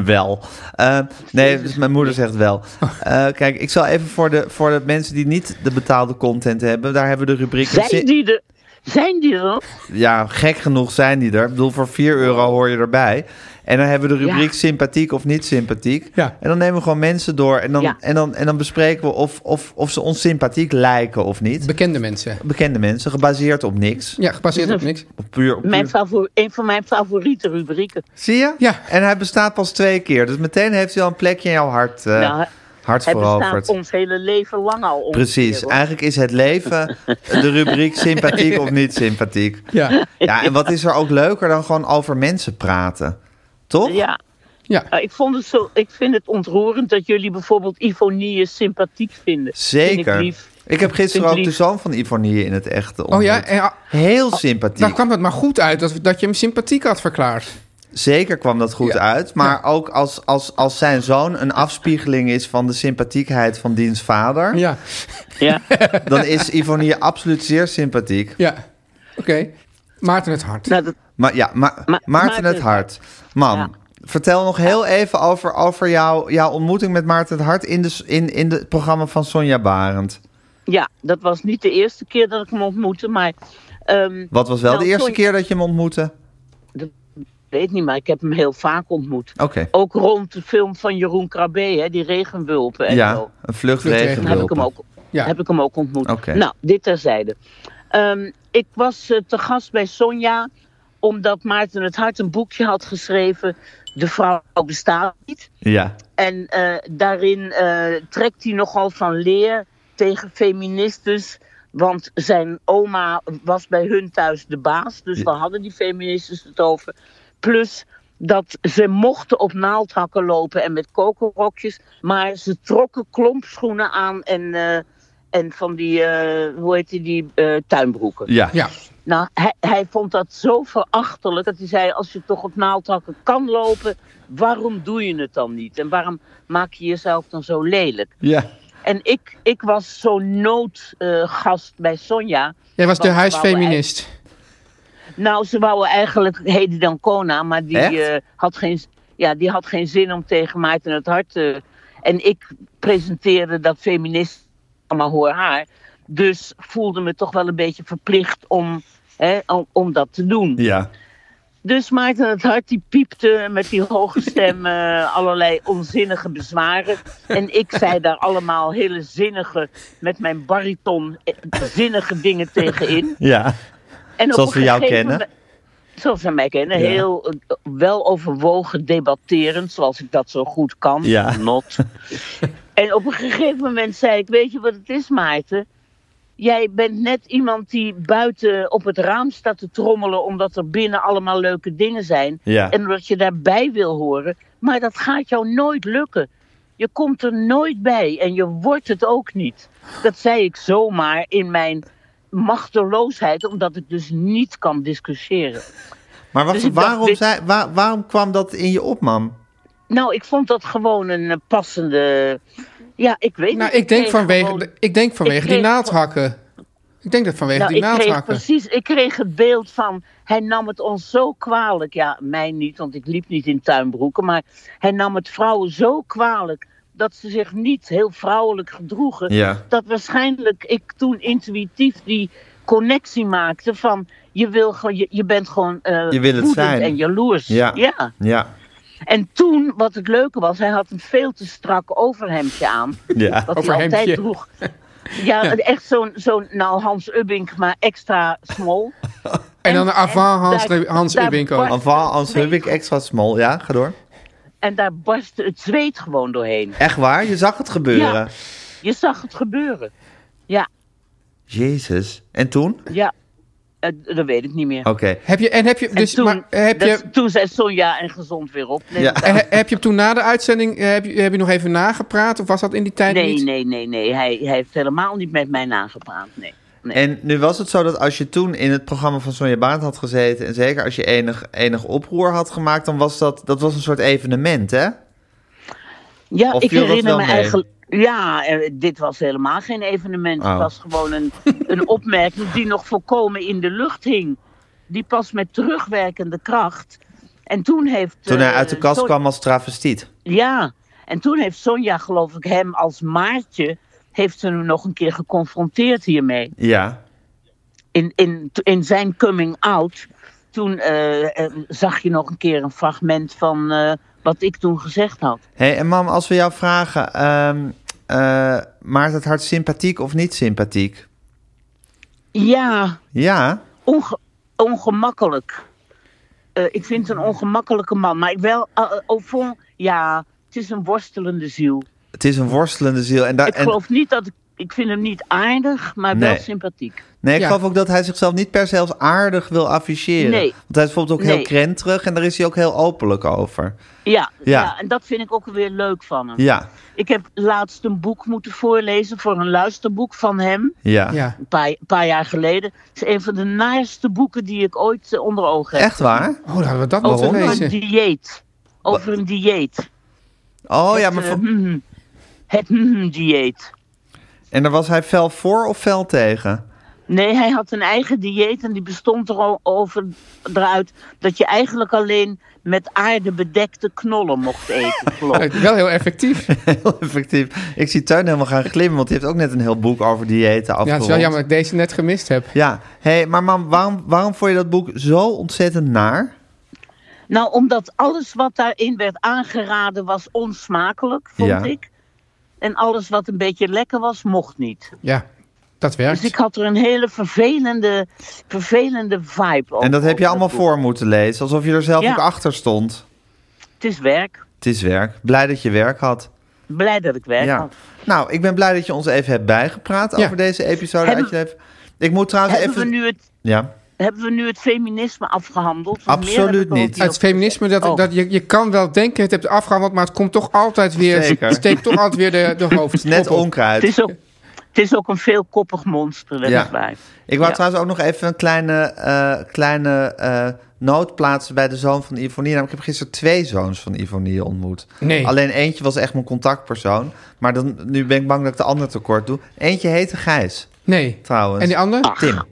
Wel. Eh, nee, dus mijn moeder zegt wel. Eh, kijk, ik zal even voor de, voor de mensen die niet de betaalde content hebben, daar hebben we de rubriek.
Zij die de, Zijn die er?
Ja, gek genoeg zijn die er. Ik bedoel, voor 4 euro hoor je erbij. En dan hebben we de rubriek
Ja.
sympathiek of niet sympathiek.
Ja.
En dan nemen we gewoon mensen door. En dan,
Ja.
en dan, en dan bespreken we of, of, of ze ons sympathiek lijken of niet.
Bekende mensen.
Bekende mensen, gebaseerd op niks.
Ja, gebaseerd op niks.
Op puur, op
Mijn
puur-
favor- een van mijn favoriete rubrieken.
Zie je?
Ja.
En hij bestaat pas twee keer. Dus meteen heeft hij al een plekje in jouw hart, eh
Nou,
hart
Hij
veroverd.
bestaat ons hele leven lang al. ongeveer,
Precies.
hoor.
Eigenlijk is het leven de rubriek sympathiek of niet sympathiek.
Ja,
Ja, en wat is er ook leuker dan gewoon over mensen praten? Toch?
Ja.
ja.
Nou, ik, vond het zo, ik vind het ontroerend dat jullie bijvoorbeeld Ivonie sympathiek vinden. Vind
Zeker.
ik
Ik,
lief.
heb gisteren
Vind
ook
ik
de
lief.
zoon van Ivonie in het echte
Oh
ontmoet.
ja, en, ah,
Heel sympathiek.
daar kwam het maar goed uit dat, dat je hem sympathiek had verklaard.
Zeker kwam dat goed
Ja.
uit. Maar ook als, als, als zijn zoon een afspiegeling is van de sympathiekheid van diens vader...
Ja,
dus
Ja.
dan is Ivonie absoluut zeer sympathiek.
ja. Oké. Maarten het hart.
Nou, dat,
Maar ja, Ma- Maarten
Maarten
het
het
Hart. Man,
Ja.
vertel nog heel even over, over jouw, jouw ontmoeting met Maarten het Hart... in de s- in, in het programma van Sonja Barend.
ja, dat was niet de eerste keer dat ik hem ontmoette, maar... ehm,
Wat was wel
Nou,
de eerste
Sonja-
keer dat je hem ontmoette?
Ik weet niet, maar ik heb hem heel vaak ontmoet.
Oké.
Ook rond de film van Jeroen Krabbe, hè, die regenwulpen en
Ja,
zo.
een vlucht
Vluchtregen.
Toen heb ik hem Nou, ook,
Ja.
heb ik hem ook ontmoet.
Oké.
Nou, dit terzijde. Ehm, ik was eh, te gast bij Sonja omdat Maarten het Hart een boekje had geschreven. De vrouw bestaat niet.
Ja.
En eh, daarin eh, trekt hij nogal van leer tegen feministes. Want zijn oma was bij hun thuis de baas. Dus we hadden die feministes het over. Plus dat ze mochten op naaldhakken lopen en met kokerrokjes. Maar ze trokken klompschoenen aan en, eh, en van die, eh, hoe heet die, die eh, tuinbroeken.
Ja.
Ja,
Nou, hij, hij vond dat zo verachtelijk dat hij zei: Als je toch op naaldhakken kan lopen, waarom doe je het dan niet? En waarom maak je jezelf dan zo lelijk?
Ja.
En ik, ik was zo'n noodgast bij Sonja.
jij was de
Want we
huisfeminist.
Nou, ze wou eigenlijk Hedy Dancona, maar die,
Echt?
eh, had geen, ja, die had geen zin om tegen Maarten het hart te. En ik presenteerde dat feminist, maar hoor haar. Dus voelde me toch wel een beetje verplicht om, hè, om, om dat te doen.
Ja.
Dus Maarten het Hart die piepte met die hoge stem eh, allerlei onzinnige bezwaren. En ik zei daar allemaal hele zinnige, met mijn bariton, eh, zinnige dingen tegenin.
Ja.
En op
Zoals
een
we jou
gegeven
kennen.
moment- Zoals we mij kennen. Heel eh, wel overwogen debatterend, zoals ik dat zo goed kan.
Ja.
Not. en op een gegeven moment zei ik, weet je wat het is Maarten? Jij bent net iemand die buiten op het raam staat te trommelen omdat er binnen allemaal leuke dingen zijn.
Ja.
En omdat je daarbij wil horen. Maar dat gaat jou nooit lukken. Je komt er nooit bij en je wordt het ook niet. Dat zei ik zomaar in mijn machteloosheid, omdat ik dus niet kan discussiëren.
Maar wacht,
Dus ik dacht,
waarom,
dit-
zei, waar- waarom kwam dat in je op, mam?
Nou, ik vond dat gewoon een eh, passende. Ja, ik weet
Nou,
niet.
ik denk
kreeg
vanwege,
gewoon-
de- ik denk vanwege die
kreeg-
naaldhakken. Ik denk dat vanwege
Nou,
die
ik kreeg
naaldhakken.
precies, ik kreeg het beeld van. Hij nam het ons zo kwalijk. Ja, mij niet, want ik liep niet in tuinbroeken. Maar hij nam het vrouwen zo kwalijk. dat ze zich niet heel vrouwelijk gedroegen.
Ja.
dat waarschijnlijk ik toen intuïtief die connectie maakte van je, wil gewoon, je, je bent gewoon eh
Je wil het
woedend
zijn.
en jaloers.
Ja.
ja.
Ja.
En toen, wat het leuke was, hij had een veel te strak overhemdje aan.
Ja.
Wat hij
Overhemdje.
altijd droeg. Ja, echt zo'n, zo'n nou Hans Ubbink, maar extra small.
En dan een avant Hans,
daar-
Le- Hans
daar
Ubbink ook.
barst-
Avant, als heb ik extra small. Ja, ga door.
En daar barstte het zweet gewoon doorheen.
Echt waar? Je zag het gebeuren.
Ja. Je zag het gebeuren. Ja,
Jezus. En toen?
ja. Eh, dat weet ik niet meer.
Oké.
Heb je, en heb je, dus,
en toen,
maar, heb,
dat-
je,
toen zei Sonja en gezond weer op. Nee,
Ja.
dat-
he- heb je hem toen na de uitzending, eh, heb je, heb je nog even nagepraat? Of was dat in die tijd
nee,
niet?
nee, nee, nee. Hij, hij heeft helemaal niet met mij nagepraat. Nee. nee.
En nu was het zo dat als je toen in het programma van Sonja Baat had gezeten... en zeker als je enig, enig oproer had gemaakt... dan was dat, dat was een soort evenement, hè?
Ja,
Of
ik
viel dat
herinner
wel
me
mee?
eigenlijk. Ja, eh, dit was helemaal geen evenement.
Oh.
Het was gewoon een, een opmerking die nog volkomen in de lucht hing. Die pas met terugwerkende kracht. En toen heeft.
Toen hij
eh,
uit de kast
Son-
kwam als travestiet.
Ja, en toen heeft Sonja, geloof ik, hem als Maartje. Heeft ze hem nog een keer geconfronteerd hiermee?
Ja.
in, in, in zijn coming out, toen eh, eh, zag je nog een keer een fragment van eh, wat ik toen gezegd had.
hey, en mam, als we jou vragen, ehm eh, maakt het hart sympathiek of niet sympathiek?
Ja,
Ja,
onge- ongemakkelijk. Eh, ik vind het een ongemakkelijke man, maar ik wel, eh, eh, au fond, ja, het is een worstelende ziel.
het is een worstelende ziel. Ah, En daar,
Ik
en-
geloof niet dat ik, ik vind hem niet aardig, maar wel
Nee.
sympathiek.
Nee, ik
Ja.
geloof ook dat hij zichzelf niet per se als aardig wil afficheren.
Nee.
Want hij is bijvoorbeeld ook heel
Nee.
krenterig en daar is hij ook heel openlijk over.
Ja,
Ja.
ja. en dat vind ik ook weer leuk van hem.
Ja,
Ik heb laatst een boek moeten voorlezen voor een luisterboek van hem.
ja.
Ja.
Een paar, paar jaar geleden. Het is een van de naaste boeken die ik ooit eh, onder ogen heb.
Echt waar?
Oh, dan hadden we dat
Waarom?
moeten
Over een
lezen.
dieet. Over een dieet.
Oh ja, maar
Eh,
voor-
mhm. het mhm dieet.
en daar was hij fel voor of fel tegen?
Nee, hij had een eigen dieet en die bestond erover eruit dat je eigenlijk alleen met aarde bedekte knollen mocht eten, geloof ik.
Eh, Wel heel effectief.
Oh,
Heel effectief. Ik zie Tuin helemaal gaan glimmen, want die heeft ook net een heel boek over diëten afgerond.
Ja, het is wel jammer dat ik deze net gemist heb.
Ja, hey, maar mam, waarom, waarom vond je dat boek zo ontzettend naar?
Nou, omdat alles wat daarin werd aangeraden was onsmakelijk, vond
Ja.
ik. En alles wat een beetje lekker was, mocht niet.
Ja, dat
Dus ik
werkt.
had er een hele vervelende, vervelende vibe over.
En dat heb
over
je allemaal
boek.
voor moeten lezen, alsof je er zelf
Ja.
ook achter stond.
Het is werk.
Het is werk. Blij dat je werk had.
Blij dat ik werk
Ja.
had.
Nou, ik ben blij dat je ons even hebt bijgepraat
Ja.
over deze episode.
Hebben-
Uit je leven. Ik moet trouwens
Hebben,
Nou, even.
we nu het,
Ja.
hebben we nu het feminisme afgehandeld? Want meer
Absoluut
heb ik er ook
niet.
op-
Het feminisme, dat,
Oh.
dat je, je kan wel denken, het hebt afgehandeld, maar het komt toch altijd weer,
Zeker.
het steekt toch altijd weer de, de hoofd.
Net
op.
onkruid.
Het is ook, het is ook een veelkoppig monster, dat
Ja.
is waar.
Ik wou
Ja.
trouwens ook nog even een kleine, eh, kleine eh, noot plaatsen bij de zoon van Ivonie. Namelijk, ik heb gisteren twee zoons van Ivonie ontmoet.
Nee.
Alleen eentje was echt mijn contactpersoon. Maar dan, nu ben ik bang dat ik de ander tekort doe. Eentje heette Gijs,
Nee.
trouwens.
En die andere?
Tim.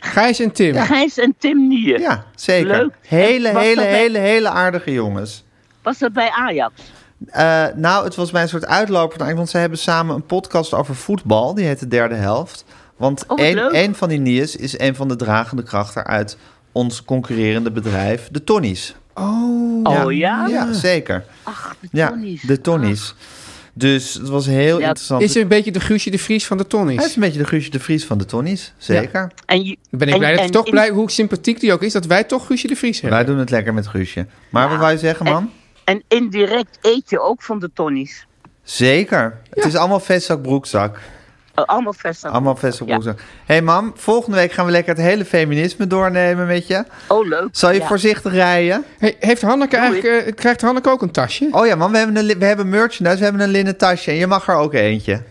Gijs en Tim.
Gijs en Tim Nier.
Ja, zeker.
Leuk.
Hele,
En was
hele,
dat bij-
hele, hele aardige jongens.
Was dat bij Ajax?
Eh, nou, het was bij een soort uitloper. nou, Want ze hebben samen een podcast over voetbal. Die heet De Derde Helft. Want
Oh, wat leuk.
één, één van die Niers is een van de dragende krachten uit ons concurrerende bedrijf, de Tonnies.
oh ja?
Ja, zeker.
Ach, de
Ja,
Tonnies. Ah.
de Tonnies. Dus het was heel
Ja,
interessant.
Is een beetje de Guusje de Vries van de
Hij is
Tonnies.
een beetje de Guusje de Vries van de Tonnies, zeker.
En je-
Dan ben ik
en-
blij, dat
en
toch
in-
blij hoe sympathiek die ook is, dat wij toch Guusje de Vries hebben.
Wij doen het lekker met Guusje. Maar wat wou je zeggen,
en-
man?
En indirect eet je ook van de tonnies.
Zeker. Het is allemaal vestzak, broekzak.
Eh, Allemaal vestzak.
Allemaal vestzak, broekzak. hey, mam, volgende week gaan we lekker het hele feminisme doornemen met je.
Oh, leuk.
Zal je
Ja.
voorzichtig rijden?
Hey, heeft Hanneke
Doe
eigenlijk, eh, krijgt Hanneke ook een tasje?
Oh ja, man, we hebben, een, li- we hebben merchandise, we hebben een linnen tasje. En je mag er ook eentje.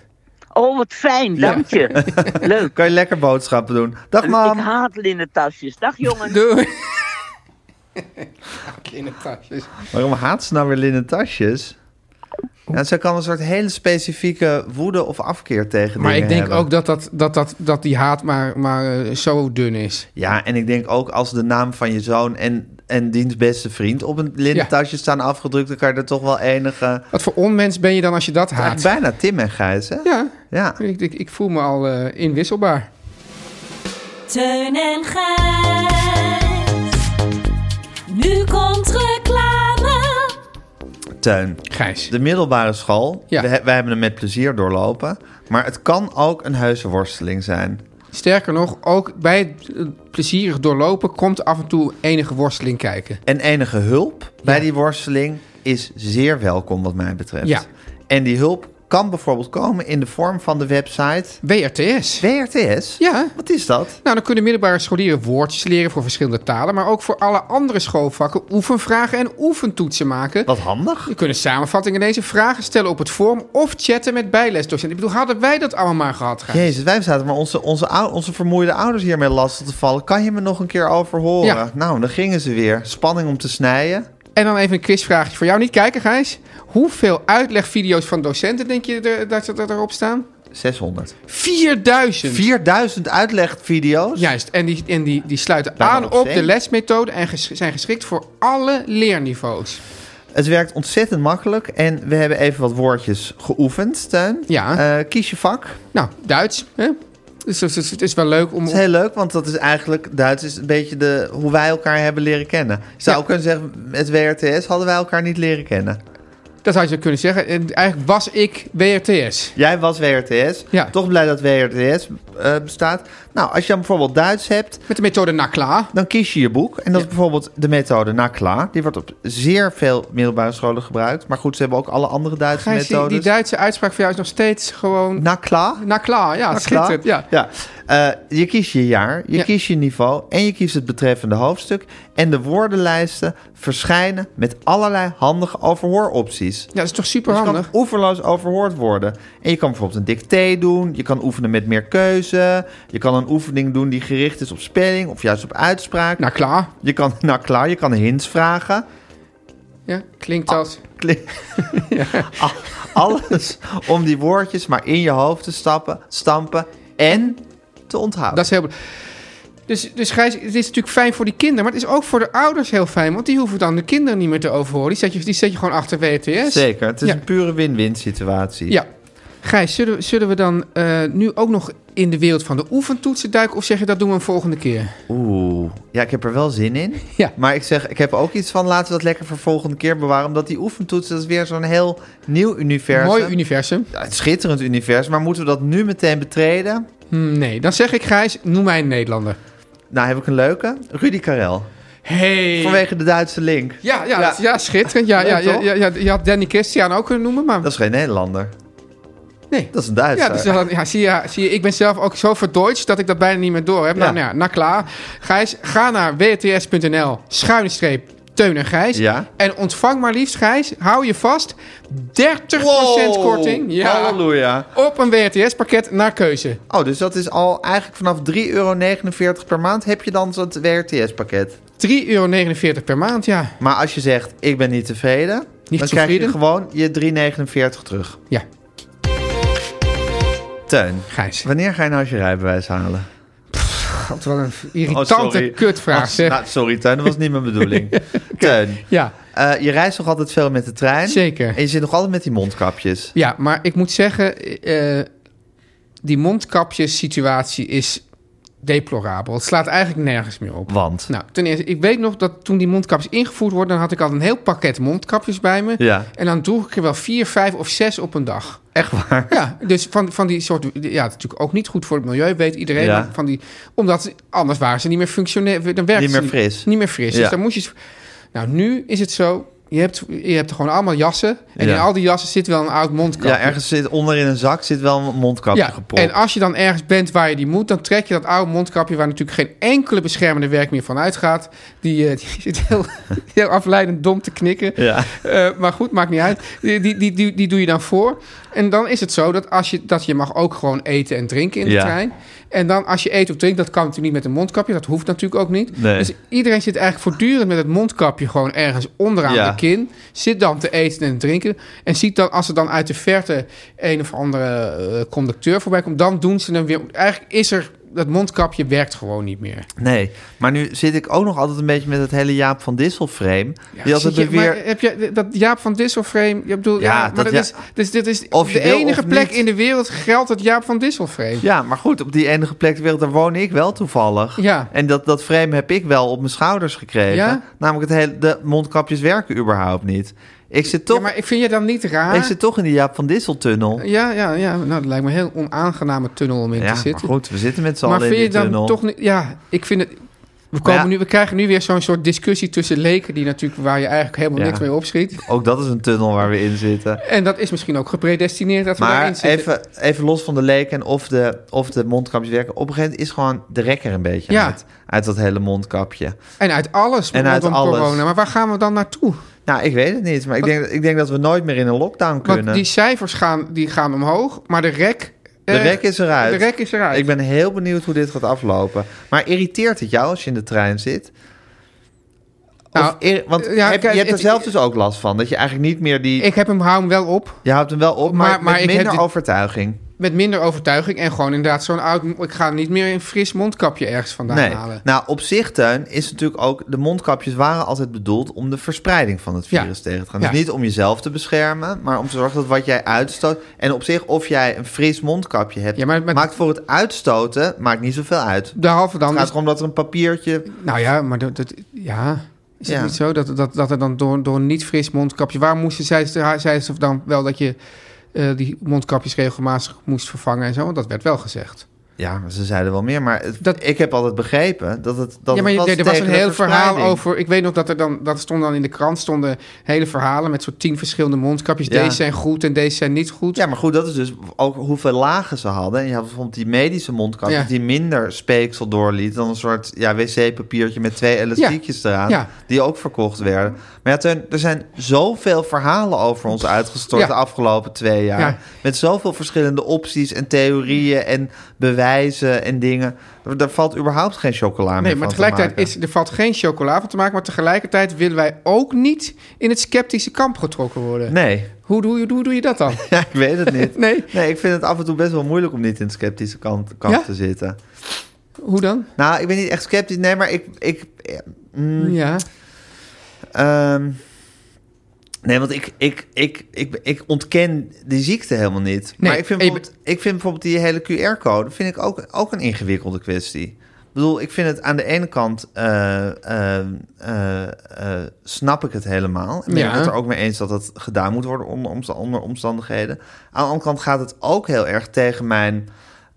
Oh, wat fijn. Dank je. leuk.
Kan je lekker boodschappen doen. Dag,
Ik
mam.
haat linnen tasjes. Dag, jongens.
Doei. Kindertasjes.
Waarom haat ze nou weer linnen tasjes? Ja, ze kan een soort hele specifieke woede of afkeer tegen
Maar ik
dingen
denk
hebben.
ook dat, dat, dat, dat, dat die haat maar, maar eh, zo dun is.
Ja, en ik denk ook als de naam van je zoon en, en diens beste vriend... op een linnen
Ja.
tasje staan afgedrukt... dan kan je er toch wel enige...
Wat voor onmens ben je dan als je dat haat?
Eigenlijk bijna Tim en Gijs, hè?
Ja,
Ja.
ik, ik, ik voel me al eh, inwisselbaar.
Teun en Gijs. Nu komt reclame.
Teun.
Gijs.
De middelbare school,
Ja.
we he- wij hebben hem met plezier doorlopen. Maar het kan ook een heuse worsteling zijn.
Sterker nog, ook bij het eh, plezierig doorlopen komt af en toe enige worsteling kijken.
En enige hulp bij die worsteling is zeer welkom wat mij betreft.
Ja.
En die hulp kan bijvoorbeeld komen in de vorm van de website
WRTS.
WRTS.
Ja.
Wat is dat?
Nou, dan kunnen middelbare scholieren woordjes leren voor verschillende talen, maar ook voor alle andere schoolvakken oefenvragen en oefentoetsen maken.
Wat handig.
We kunnen samenvattingen lezen, vragen stellen op het forum of chatten met bijlesdocenten. Ik bedoel, hadden wij dat allemaal maar gehad, Gijs?
Jezus, wij zaten maar onze, onze, ou- onze vermoeide ouders hiermee lastig te vallen. Kan je me nog een keer over horen?
Ja.
Nou, dan gingen ze weer. Spanning om te snijden.
En dan even een quizvraagje voor jou. Niet kijken, Gijs. Hoeveel uitlegvideo's van docenten denk je er, dat, dat erop staan?
600.
4000.
4000 uitlegvideo's.
Juist, en die, en die, die sluiten
Daarom
aan op
zeker.
de lesmethode en ges- zijn geschikt voor alle leerniveaus.
Het werkt ontzettend makkelijk. En we hebben even wat woordjes geoefend, Teun.
Ja.
Eh, kies je vak.
Nou, Duits, hè? Dus het is, het is wel leuk om...
Het is heel leuk, want dat is eigenlijk... Duits is een beetje de, hoe wij elkaar hebben leren kennen. Je zou
Ja.
ook kunnen zeggen, met WRTS hadden wij elkaar niet leren kennen.
Dat had je kunnen zeggen. En Eigenlijk was ik WRTS.
Jij was WRTS.
Ja.
Toch blij dat WRTS eh, bestaat. Nou, als je dan bijvoorbeeld Duits hebt,
Met de methode NACLA.
dan kies je je boek. En dat is bijvoorbeeld de methode NACLA. Die wordt op zeer veel middelbare scholen gebruikt. Maar goed, ze hebben ook alle andere Duitse
Gijs, die,
methodes.
die Duitse uitspraak voor jou is nog steeds gewoon...
NACLA.
NACLA, ja,
Ah,
schitterend.
klaar?
Ja.
Ja. Eh, je kiest je jaar, je
Ja.
kiest je niveau en je kiest het betreffende hoofdstuk. En de woordenlijsten verschijnen met allerlei handige overhooropties.
ja, dat is toch super
Dus je kan
handig.
oeverloos overhoord worden. En je kan bijvoorbeeld een dicté doen. Je kan oefenen met meer keuze. Je kan een oefening doen die gericht is op spelling of juist op uitspraak.
NACLA,
Je kan, nou klaar, je kan hints vragen.
ja, klinkt als...
Kli- Al- Alles om die woordjes maar in je hoofd te stappen, stampen en te onthouden.
Dat is heel... be- Dus, dus Gijs, het is natuurlijk fijn voor die kinderen, maar het is ook voor de ouders heel fijn, want die hoeven dan de kinderen niet meer te overhoren. Die zet je, die zet je gewoon achter WTS.
Zeker, het is
Dus- Ja.
een pure win-win situatie.
Ja. Gijs, zullen, we- zullen we dan eh, nu ook nog in de wereld van de oefentoetsen duiken, of zeg je dat doen we een volgende keer?
Oeh, ja, ik heb er wel zin in.
Ja.
Maar ik zeg, ik heb ook iets van laten we dat lekker voor volgende keer bewaren. Omdat die oefentoets, dat is weer zo'n heel nieuw universum.
Mooi universum.
Ja, een schitterend universum, maar moeten we dat nu meteen betreden?
Hmm, nee, dan zeg ik Gijs, noem mij een Nederlander.
Nou, heb ik een leuke. Rudy Karel.
Hey.
Vanwege de Duitse link.
Ja, ja,
Ja.
ja. schitterend. Ja,
Leuk,
ja, ja,
toch?
ja, ja, je had Danny Christian ook kunnen noemen, maar...
Dat is geen Nederlander.
nee.
Dat is een Duitser.
Ja, dus dan, ja, zie, je, zie je, ik ben zelf ook zo verdeutsch dat ik dat bijna niet meer door heb.
Ja.
Nou, nou, ja, nou klaar. Gijs, ga naar wts.nl schuine streep Teun en Gijs.
Ja.
En ontvang maar liefst, Gijs, hou je vast, 30%
Wow,
korting ja,
Halleluja.
op een WTS-pakket naar keuze.
Oh, dus dat is al eigenlijk vanaf 3,49 euro per maand heb je dan dat WRTS-pakket.
3,49 euro per maand, ja.
Maar als je zegt, ik ben niet tevreden, dan krijg je
tevreden?
gewoon je 3,49 terug.
Ja,
Teun,
Gijs.
wanneer ga je nou eens je rijbewijs halen?
God, wat een
Oh,
irritante
sorry.
kutvraag,
Oh,
zeg.
nou, sorry, Teun, dat was niet mijn bedoeling. Teun,
Ja,
eh, je reist nog altijd veel met de trein.
Zeker.
En je zit nog altijd met die mondkapjes.
Ja, maar ik moet zeggen, eh, die mondkapjesituatie is deplorabel. Het slaat eigenlijk nergens meer op.
Want?
Nou, ten eerste, ik weet nog dat toen die mondkapjes ingevoerd worden, dan had ik al een heel pakket mondkapjes bij me.
Ja.
En dan droeg ik er wel vier, vijf of zes op een dag.
Echt waar?
Ja, dus van, van die soort... Ja, het is natuurlijk ook niet goed voor het milieu, weet iedereen.
Ja.
maar Van die, omdat anders waren ze niet meer functioneel. Dan werkten
Niet meer
ze
fris.
Niet meer fris.
Ja.
Dus dan moest je... Nou, nu is het zo... Je hebt, je hebt gewoon allemaal jassen. En
Ja.
in al die jassen zit wel een oud mondkapje.
Ja, ergens zit onder in een zak zit wel een mondkapje
Ja,
gepropt.
en als je dan ergens bent waar je die moet... dan trek je dat oude mondkapje... waar natuurlijk geen enkele beschermende werk meer van uitgaat. Die, eh, die zit heel, heel afleidend dom te knikken.
Ja.
Eh, maar goed, maakt niet uit. Die, die, die, die, die doe je dan voor. En dan is het zo dat, als je, dat je mag ook gewoon eten en drinken in de
Ja.
trein. En dan als je eet of drinkt, dat kan natuurlijk niet met een mondkapje. Dat hoeft natuurlijk ook niet.
Nee.
Dus iedereen zit eigenlijk voortdurend met het mondkapje gewoon ergens onderaan
Ja.
de kin. Zit dan te eten en drinken. En ziet dan, als er dan uit de verte een of andere eh, conducteur voorbij komt, dan doen ze hem weer. Eigenlijk is er, dat mondkapje werkt gewoon niet meer.
Nee, maar nu zit ik ook nog altijd een beetje met het hele Jaap van Dissel frame. die
Zie
altijd
je,
weer...
maar heb je dat Jaap van Disselframe? Ik bedoel,
Ja,
ja,
dat
maar dat
ja-
is, dus dit is
Of je
de
wil
enige
of
plek
niet.
in de wereld geldt dat Jaap van Disselframe.
Ja, maar goed, op die enige plek ter wereld, daar woon ik wel toevallig.
Ja.
En dat, dat frame heb ik wel op mijn schouders gekregen.
Ja?
Namelijk het hele, de mondkapjes werken überhaupt niet. Ik zit toch,
Ja, maar ik vind je dan niet raar.
ik zit toch in die Jaap van Dissel-tunnel.
Ja, ja, ja. Nou, dat lijkt me een heel onaangename tunnel om in
Ja,
te
maar
zitten.
goed, we zitten met z'n
maar
allen in
vind je
die
dan
tunnel.
toch niet... Ja, ik vind het... We,
Maar
komen
ja.
nu, we krijgen nu weer zo'n soort discussie tussen leken... Die natuurlijk, waar je eigenlijk helemaal
Ja.
niks mee opschiet.
Ook dat is een tunnel waar we in zitten.
En dat is misschien ook gepredestineerd dat we daarin
Maar
zitten.
even, even los van de leek en of de, of de mondkapjes werken. Op een gegeven moment is gewoon de rekker een beetje
Ja.
uit, uit dat hele mondkapje.
En uit alles
En
rondom
uit alles.
corona. Maar waar gaan we dan naartoe?
Nou, ik weet het niet, maar ik denk, ik denk dat we nooit meer in een lockdown kunnen.
Want die cijfers gaan, die gaan omhoog, maar de rek...
De
eh,
rek is eruit.
De rek is eruit.
Ik ben heel benieuwd hoe dit gaat aflopen. Maar irriteert het jou als je in de trein zit?
Nou,
Of ir- want
eh, ja,
heb,
kijk,
je hebt er
het-
zelf dus ook last van. Dat je eigenlijk niet meer die...
Ik heb hem, hou hem wel op.
je houdt hem wel op, maar,
Maar- maar
met
ik heb
minder
dit-
overtuiging.
met minder overtuiging en gewoon inderdaad zo'n oud... Ik ga niet meer een fris mondkapje ergens vandaan
Nee.
halen.
Nou, op zich, Teun, is natuurlijk ook... De mondkapjes waren altijd bedoeld om de verspreiding van het
Ja.
virus tegen te gaan.
Ja.
Dus niet om jezelf te beschermen, maar om te zorgen dat wat jij uitstoot... En op zich, of jij een fris mondkapje hebt,
Ja, maar- maar-
maakt voor het uitstoten maakt niet zoveel uit. Het
Behalve dan...
gaat erom dat er een papiertje...
Nou ja, maar dat, dat- ja. Is
Ja.
het niet zo dat, dat, dat er dan door, door een niet fris mondkapje... Waar moesten zij, zij ze dan wel dat je eh, die mondkapjes regelmatig moest vervangen en zo? Want dat werd wel gezegd.
Ja, maar ze zeiden wel meer. Maar het-
Dat-
ik heb altijd begrepen dat het... Dat
ja, maar
het
je- er was
tegen
een
de
heel verhaal
verspreiding.
over... Ik weet nog dat er dan... Dat stond dan in de krant stonden hele verhalen met zo'n tien verschillende mondkapjes.
Ja.
Deze zijn goed en deze zijn niet goed.
Ja, maar goed, dat is dus ook hoeveel lagen ze hadden. En je had bijvoorbeeld die medische mondkapjes
Ja.
die minder speeksel doorliet dan een soort ja, wc-papiertje met twee elastiekjes eraan,
Ja.
die ook verkocht werden. Maar ja, Teun, er zijn zoveel verhalen over ons uitgestort
Ja.
de afgelopen twee jaar.
Ja.
Met zoveel verschillende opties en theorieën en bewijzen en dingen. Er, er valt überhaupt geen chocola meer
Nee,
van
maar
te
tegelijkertijd
maken.
is, er valt geen chocola van te maken. Maar tegelijkertijd willen wij ook niet in het sceptische kamp getrokken worden.
Nee,
Hoe, doe je, hoe doe je dat dan?
ja, ik weet het niet.
Nee.
nee, ik vind het af en toe best wel moeilijk om niet in het sceptische kant, kant
Ja?
te zitten.
Hoe dan?
Nou, ik ben niet echt sceptisch. Nee, maar ik... ik eh, mm,
Ja.
ehm, nee, want ik, ik, ik, ik, ik ontken die ziekte helemaal niet.
Nee,
maar ik vind,
en je
bijvoorbeeld, ik vind bijvoorbeeld die hele QR-code... vind ik ook, ook een ingewikkelde kwestie. Ik bedoel, ik vind het aan de ene kant... eh, eh, eh, eh, snap ik het helemaal. En ben
Ja.
ik het er ook mee eens dat dat gedaan moet worden... onder, omsta- onder omstandigheden. Aan de andere kant gaat het ook heel erg tegen mijn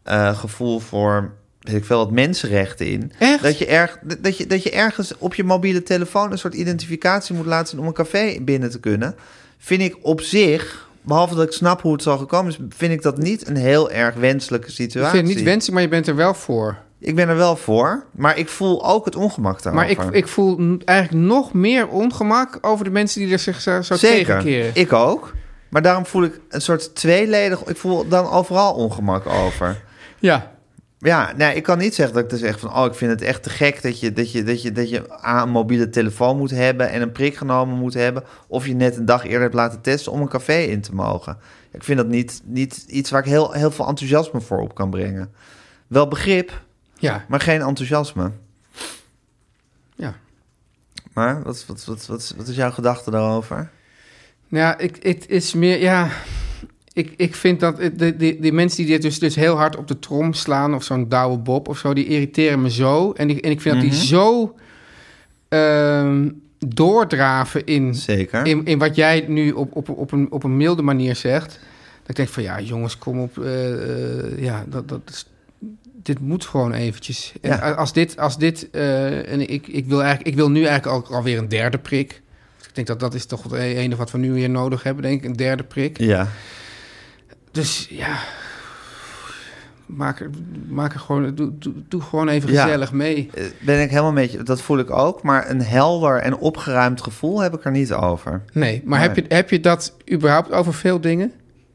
eh, gevoel voor... weet ik veel, wat mensenrechten in.
Echt?
Dat je, erg, dat, je, dat je ergens op je mobiele telefoon een soort identificatie moet laten zien om een café binnen te kunnen. Vind ik op zich, behalve dat ik snap hoe het zal gekomen is, vind ik dat niet een heel erg wenselijke
Ik
situatie.
vind het niet wenselijk, maar je bent er wel voor.
Ik ben er wel voor, maar ik voel ook het ongemak daarover.
Maar ik, ik voel n- eigenlijk nog meer ongemak over de mensen die er zich zo, zo
Zeker,
tegenkeren.
ik ook. Maar daarom voel ik een soort tweeledig... Ik voel dan overal ongemak over.
Ja.
Ja, nee, ik kan niet zeggen dat ik dus echt van... oh, ik vind het echt te gek dat je, dat je, dat je, dat je A, een mobiele telefoon moet hebben... en een prik genomen moet hebben... of je net een dag eerder hebt laten testen om een café in te mogen. Ik vind dat niet, niet iets waar ik heel, heel veel enthousiasme voor op kan brengen. Wel begrip,
Ja.
maar geen enthousiasme.
ja.
Maar wat, wat, wat, wat, wat is jouw gedachte daarover?
Nou, ja, ik, het is meer, ja. Ik, ik vind dat het- de, de, die mensen die dit dus, dus heel hard op de trom slaan, of zo'n Douwe Bob of zo, die irriteren me zo. En, die, en ik vind dat die zo ehm, doordraven in,
Zeker.
in, in wat jij nu op, op, op, een, op een milde manier zegt. Dat ik denk van ja, jongens, kom op. eh, eh, ja, dat, dat is, dit moet gewoon eventjes. En
Ja.
a- als dit, als dit eh, en ik, ik, wil eigenlijk, ik wil nu eigenlijk ook alweer een derde prik. Dus Ik denk dat dat is toch het enige wat we nu weer nodig hebben, denk ik. Een derde prik.
Ja.
Dus ja, maak er, maak er gewoon, doe, doe, doe gewoon even
Ja.
gezellig mee.
Eh, Ben ik helemaal met je, dat voel ik ook... maar een helder en opgeruimd gevoel heb ik er niet over.
Nee, maar
Nee.
Heb, je, heb je dat überhaupt over veel dingen?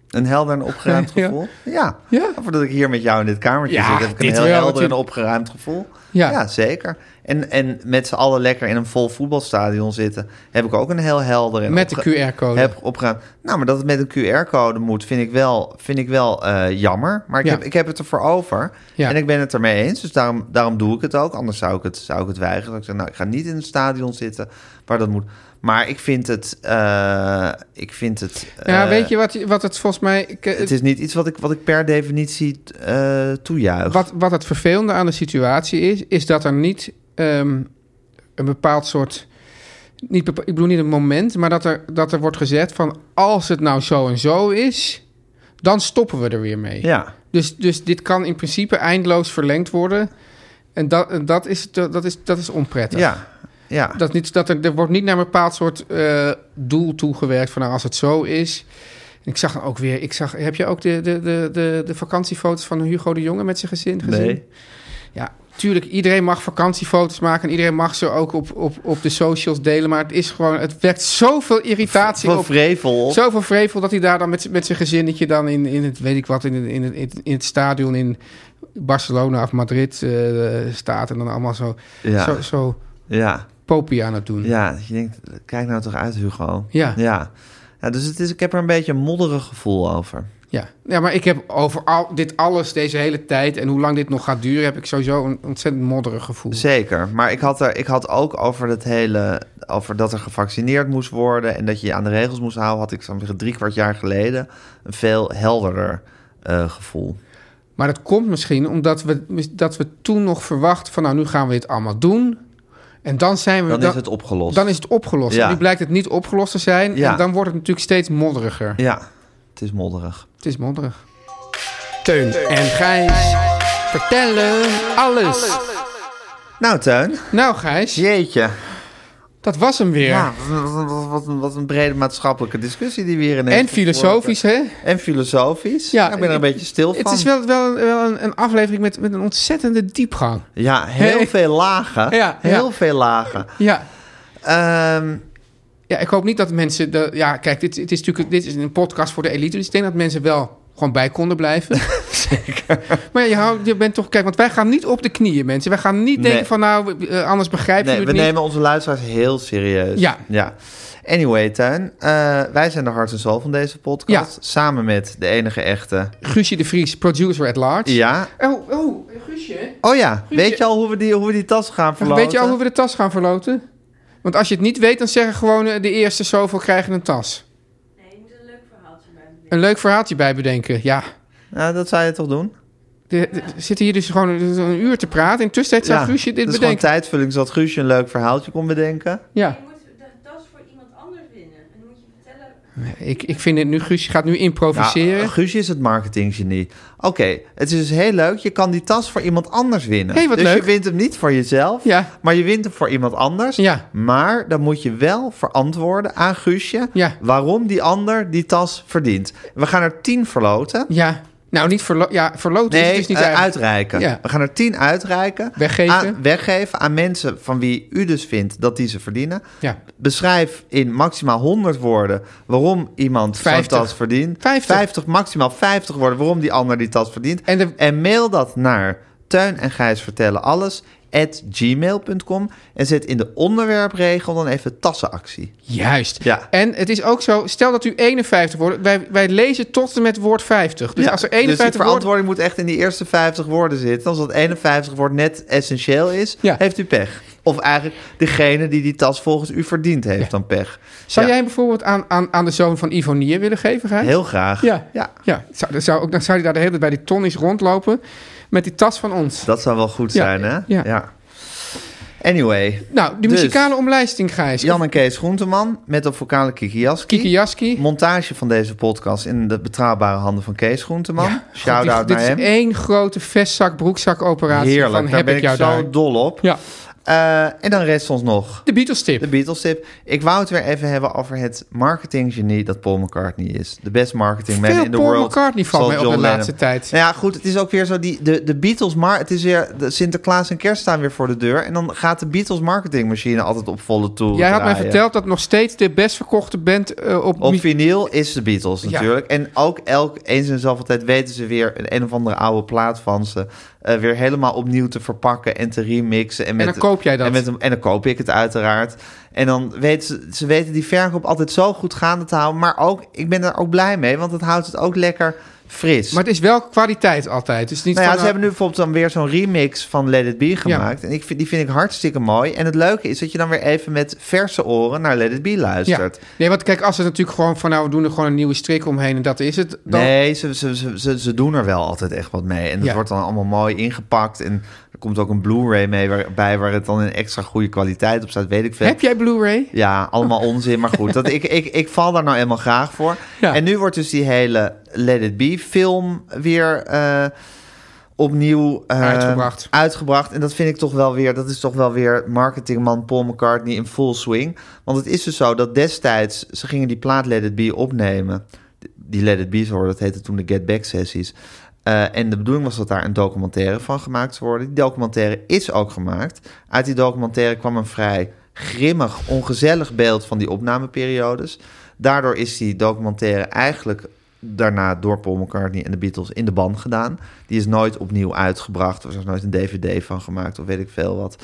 Een helder en opgeruimd
Ja.
gevoel? Ja.
Ja.
Voordat ik hier met jou in dit kamertje
Ja,
zit, heb ik een
dit
heel
wel,
helder en
natuurlijk.
opgeruimd gevoel.
Ja.
zeker. En, en met z'n allen lekker in een vol voetbalstadion zitten, heb ik ook een heel helder en
Met de
opge-
QR-code.
Heb opgeruimd. Nou, maar dat het met een QR-code moet, vind ik wel, vind ik wel eh, jammer. Maar ik,
Ja.
heb, ik heb het ervoor over.
Ja.
En ik ben het ermee eens. Dus daarom, daarom doe ik het ook. Anders zou ik het, zou ik het weigeren. Dat Ik zeg, nou, ik ga niet in een stadion zitten waar dat moet. Maar ik vind het. eh, ik vind het.
Ja,
eh,
weet je wat, wat het volgens mij... ik- eh,
het is niet iets wat ik, wat ik per definitie eh toejuich.
Wat, wat het vervelende aan de situatie is, is dat er niet ehm, een bepaald soort. Niet bepa- ik bedoel niet een moment, maar dat er, dat er wordt gezegd van als het nou zo en zo is, dan stoppen we er weer mee.
Ja.
Dus, dus dit kan in principe eindeloos verlengd worden. En dat, en dat, is, dat, is, dat is onprettig.
Ja. Ja.
Dat niet, dat er, er wordt niet naar een bepaald soort eh, doel toegewerkt van nou, als het zo is. En Ik zag dan ook weer, ik zag, heb je ook de, de, de, de, de vakantiefoto's van Hugo de Jonge met zijn gezin gezien?
Nee.
Ja, tuurlijk, iedereen mag vakantiefoto's maken en iedereen mag ze ook op, op, op de socials delen. Maar het is gewoon, het wekt zoveel irritatie
Van
op.
Vrevel.
Zoveel vrevel dat hij daar dan met, z'n- met zijn gezinnetje dan in, in het, weet ik wat, in, het- in, het- in, het- in het stadion in Barcelona of Madrid eh, staat. En dan allemaal zo,
Ja.
zo, zo
Ja.
popie aan het doen.
Ja. dat Je denkt, kijk nou toch uit, Hugo.
Ja.
Ja. Ja, dus het is, ik heb er een beetje een modderig gevoel over.
Ja. ja, maar ik heb over al, dit alles, deze hele tijd en hoe lang dit nog gaat duren, heb ik sowieso een ontzettend modderig gevoel.
Zeker, maar ik had, er, ik had ook over dat hele, over dat er gevaccineerd moest worden en dat je je aan de regels moest houden, had ik zo'n zeggen drie kwart jaar geleden een veel helderder eh, gevoel.
Maar dat komt misschien omdat we, dat we toen nog verwachten van nou, nu gaan we dit allemaal doen. En dan zijn we...
Dan is het opgelost.
Dan is het opgelost.
Ja.
En nu blijkt het niet opgelost te zijn.
Ja.
En dan wordt het natuurlijk steeds modderiger.
Ja, het is modderig.
Het is modderig. Teun en Gijs vertellen alles.
Nou, Tuin,
Nou Gijs,
jeetje.
dat was hem weer.
Ja, wat, wat- wat Nou, een, wat een brede maatschappelijke discussie die we hier ineens
en filosofisch, hè?
voeren. En filosofisch.
Ja,
Ja, ik ben er een
ik-
beetje stil van.
Het is wel, wel, wel een, een aflevering met, met een ontzettende diepgang.
Ja, heel
Hey.
veel lagen.
Ja,
heel
ja.
veel lagen.
Ja.
Ehm,
Ja, ik hoop niet dat mensen... De, ja, kijk, dit, dit, is natuurlijk, dit is een podcast voor de elite. Dus ik denk dat mensen wel gewoon bij konden blijven. Zeker. Maar ja, je, houdt- je bent toch... Kijk, want wij gaan niet op de knieën, mensen. Wij gaan niet
Nee.
denken van... Nou, we- eh, anders begrijp je
nee,
het
we
niet.
nemen onze luisteraars heel serieus.
Ja.
ja. Anyway, Tuin, eh, wij zijn de hart en ziel van deze podcast.
Ja.
Samen met de enige echte.
Guusje de Vries, producer at large.
Ja.
Oh, oh, Guusje.
Oh ja,
Guusje.
weet je al hoe we die, hoe we die tas gaan verloten?
Weet je al hoe we de tas gaan verloten? Want als je het niet weet, dan zeggen gewoon eh, de eerste zoveel krijgen een tas. Nee, een leuk verhaaltje bij bedenken. Een leuk verhaaltje bij bedenken, ja.
Nou, dat zou je toch doen?
De, de- we zitten hier dus gewoon een, een uur te praten. In de tussentijd zou Guusje dit
dat is
bedenken.
gewoon tijdvulling, zodat Guusje een leuk verhaaltje kon bedenken.
Ja, ik, ik vind het nu, Guusje gaat nu improviseren.
Nou, Guusje is het marketinggenie. Oké, het is dus heel leuk. Je kan die tas voor iemand anders winnen.
Hey, wat
dus je
leuk.
wint hem niet voor jezelf,
Ja.
maar je wint hem voor iemand anders.
Ja.
Maar dan moet je wel verantwoorden aan Guusje
Ja.
waarom die ander die tas verdient. We gaan er tien verloten.
ja, nou niet verlo ja, verloten is
Nee,
het dus niet
eh,
eigenlijk.
uitreiken.
Ja.
We gaan er tien uitreiken.
Weggeven.
Aan, weggeven aan mensen van wie u dus vindt dat die ze verdienen.
Ja.
Beschrijf in maximaal 100 woorden waarom iemand zo'n
50.
tas verdient.
50.
maximaal 50 woorden waarom die ander die tas verdient.
En de-
mail dat naar Teun en Gijs vertellen alles at gmail.com en zet in de onderwerpregel dan even tassenactie.
Juist.
Ja.
En het is ook zo, stel dat u 51 wordt, wij, wij lezen tot en met woord 50. Dus
Ja,
als er
dus die
51 wordt,
verantwoording moet echt in die eerste 50 woorden zitten. Als dat 51 woord net essentieel is,
Ja.
heeft u pech. Of eigenlijk degene die die tas volgens u verdiend heeft dan pech.
Zou
Ja,
jij hem bijvoorbeeld aan, aan, aan de zoon van Ivonier willen geven, Gijs?
Heel graag.
Ja.
ja.
Ja, zou, dat zou ook, dan zou hij daar de hele tijd bij die tonnies rondlopen met die tas van ons.
Dat zou wel goed
Ja,
zijn, hè?
ja.
Anyway,
nou, die
Dus.
muzikale omlijsting, Gijs.
Jan en Kees Groenteman met de vocale Kiki Jaski.
Kiki Jaski.
Montage van deze podcast in de betrouwbare handen van Kees Groenteman.
God,
Shout-out
dit,
naar
dit
hem.
is één grote vestzak broekzak operatie
Heerlijk,
van
daar
heb
ben
ik
ik,
jou
zo
daar.
dol op.
Ja,
Eh, en dan rest ons nog
de Beatles tip.
De Beatles tip. Ik wou het weer even hebben over het marketinggenie dat Paul McCartney is. De best marketing man
Veel
in the
Paul
world.
McCartney valt
zoals
mij op
John
de
Lennon.
laatste tijd.
Nou ja, goed, het is ook weer zo die de, de Beatles, maar het is weer de Sinterklaas en Kerst staan weer voor de deur en dan gaat de Beatles marketingmachine altijd op volle toer.
Jij had mij
draaien.
verteld dat nog steeds de best verkochte band eh, op...
Op
mi-
vinyl is de Beatles
Ja.
natuurlijk. En ook elk eens en zoveel tijd weten ze weer een, een of andere oude plaat van ze. eh, weer helemaal opnieuw te verpakken en te remixen. En, met,
dan koop jij dat.
En, met, een- en dan koop ik het uiteraard. En dan weten ze, ze weten die verkoop altijd zo goed gaande te houden. Maar ook, ik ben daar ook blij mee, want het houdt het ook lekker fris.
maar het is wel kwaliteit altijd. Dus niet
Nou ja,
van,
ze hebben nu bijvoorbeeld dan weer zo'n remix van Let It Be
Ja.
gemaakt. En ik vind, die vind ik hartstikke mooi. En het leuke is dat je dan weer even met verse oren naar Let It Be
ja.
luistert.
Nee, want kijk, als ze natuurlijk gewoon van... nou, we doen er gewoon een nieuwe strik omheen en dat is het. Dan,
Nee, ze, ze, ze, ze, ze doen er wel altijd echt wat mee. En dat
Ja.
wordt dan allemaal mooi ingepakt. En er komt ook een Blu-ray mee waarbij waar het dan een extra goede kwaliteit op staat. Weet ik veel.
Heb jij Blu-ray?
Ja, allemaal onzin. Maar goed, dat, ik, ik, ik val daar nou helemaal graag voor.
Ja.
En nu wordt dus die hele Let It Be film weer eh, opnieuw eh,
Uitgebracht.
uitgebracht. En dat vind ik toch wel weer, dat is toch wel weer marketingman Paul McCartney in full swing. Want het is dus zo dat destijds, ze gingen die plaat Let It Be opnemen. Die Let It Be's hoor, dat heette toen de Get Back sessies. Eh, en de bedoeling was dat daar een documentaire van gemaakt zou worden. Die documentaire is ook gemaakt. Uit die documentaire kwam een vrij grimmig, ongezellig beeld van die opnameperiodes. Daardoor is die documentaire eigenlijk daarna door Paul McCartney en de Beatles in de ban gedaan. Die is nooit opnieuw uitgebracht. Of er is nooit een DVD van gemaakt of weet ik veel wat.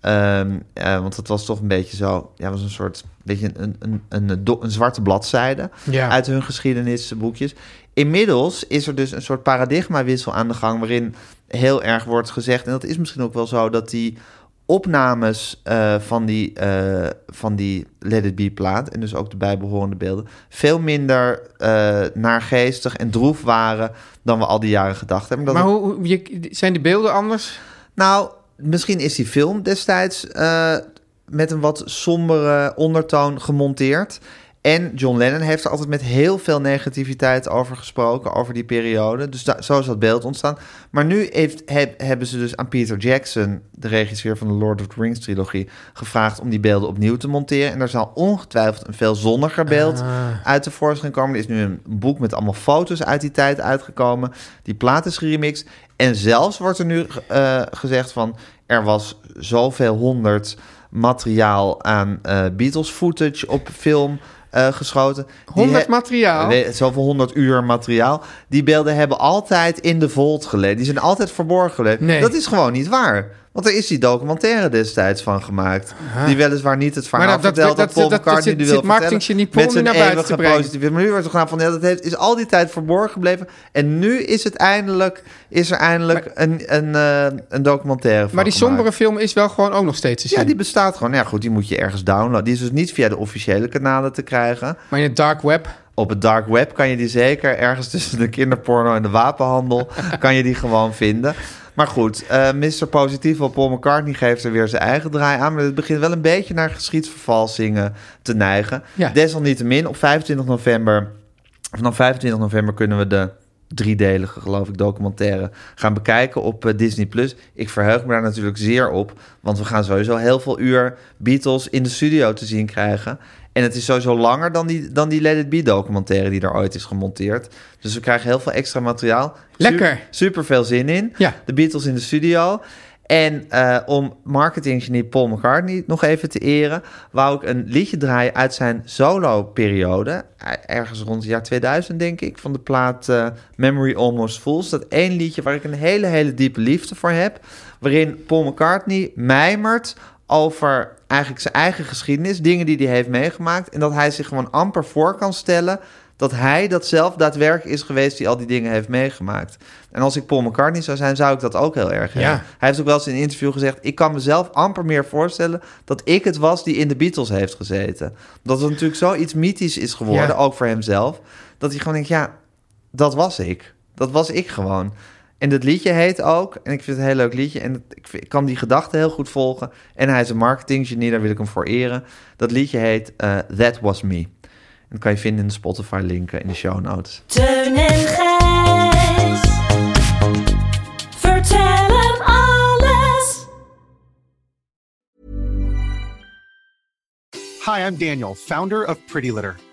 Ehm, eh, want het was toch een beetje zo. Ja, het was een soort. Beetje een, een, een, een, do- een zwarte bladzijde.
Ja.
Uit hun geschiedenisboekjes. Inmiddels is er dus een soort paradigmawissel aan de gang. Waarin heel erg wordt gezegd. En dat is misschien ook wel zo. Dat die opnames eh, van, die, eh, van die Let It Be plaat... en dus ook de bijbehorende beelden... veel minder eh, naargeestig en droef waren... dan we al die jaren gedacht hebben. Dat
maar
het-
hoe, hoe- je, zijn de beelden anders?
nou, misschien is die film destijds eh, met een wat sombere ondertoon gemonteerd. En John Lennon heeft er altijd met heel veel negativiteit over gesproken, over die periode. Dus da- zo is dat beeld ontstaan. Maar nu heeft, heb- hebben ze dus aan Peter Jackson, de regisseur van de Lord of the Rings trilogie, gevraagd om die beelden opnieuw te monteren. En daar zal ongetwijfeld een veel zonniger beeld uit de voorschijn komen. Er is nu een boek met allemaal foto's uit die tijd uitgekomen. Die plaat is geremixed. En zelfs wordt er nu eh, gezegd van... er was zoveel honderd materiaal aan eh, Beatles footage op film eh, geschoten. Die
100
he-
materiaal?
Nee, zoveel honderd uur materiaal. Die beelden hebben altijd in de vault gelegen. Die zijn altijd verborgen gebleven.
Nee.
Dat is gewoon niet waar. Want er is die documentaire destijds van gemaakt. Die weliswaar niet het verhaal
Maar dat- dat-
vertelt dat,
dat-
Paul
dat- dat
McCartney
zit-
nu
zit
wil vertellen.
marketing Jenny Paul
Met
nu
zijn
naar buiten
eeuwige
te brengen.
positieve... Maar nu werd er gedaan van... Ja, dat heeft, is al die tijd verborgen gebleven. En nu is het eindelijk... Is er eindelijk een, een, eh, een documentaire van
Maar die
gemaakt.
sombere film is wel gewoon ook nog steeds te zien.
Ja, die bestaat gewoon. Ja, goed, die moet je ergens downloaden. Die is dus niet via de officiële kanalen te krijgen.
Maar in het dark web.
Op het dark web kan je die zeker ergens tussen de kinderporno en de wapenhandel kan je die gewoon vinden. Maar goed, eh Mr. Positief van Paul McCartney geeft er weer zijn eigen draai aan. Maar het begint wel een beetje naar geschiedsvervalsingen te neigen.
Ja.
Desalniettemin, op 25 november, vanaf 25 november kunnen we de driedelige, geloof ik, documentaire gaan bekijken op eh, Disney+. Plus. Ik verheug me daar natuurlijk zeer op, want we gaan sowieso heel veel uur Beatles in de studio te zien krijgen. En het is sowieso langer dan die, dan die Let It Be documentaire die er ooit is gemonteerd. Dus we krijgen heel veel extra materiaal.
Lekker.
super veel zin in.
Ja.
De Beatles in de studio. En eh, om marketinggenie Paul McCartney nog even te eren... wou ik een liedje draaien uit zijn solo-periode. Eh, Ergens rond het jaar 2000, denk ik. Van de plaat eh, Memory Almost Full. Dat één liedje waar ik een hele, hele diepe liefde voor heb. Waarin Paul McCartney mijmert over eigenlijk zijn eigen geschiedenis. Dingen die hij heeft meegemaakt. En dat hij zich gewoon amper voor kan stellen... dat hij dat zelf daadwerkelijk is geweest die al die dingen heeft meegemaakt. En als ik Paul McCartney zou zijn, zou ik dat ook heel erg hebben.
Ja.
Hij heeft ook wel eens in een interview gezegd... ik kan mezelf amper meer voorstellen dat ik het was die in de Beatles heeft gezeten. Dat het natuurlijk zoiets mythisch is geworden,
Ja.
ook voor hemzelf... dat hij gewoon denkt, ja, dat was ik. Dat was ik gewoon. En dat liedje heet ook, en ik vind het een heel leuk liedje... en ik, vind- ik kan die gedachte heel goed volgen. En hij is een marketinggenie, daar wil ik hem voor eren. Dat liedje heet eh, That Was Me. En dat kan je vinden in de Spotify-linken in de show notes.
Teun en Gijs. Vertel hem alles.
Hi, I'm Daniel, founder of Pretty Litter.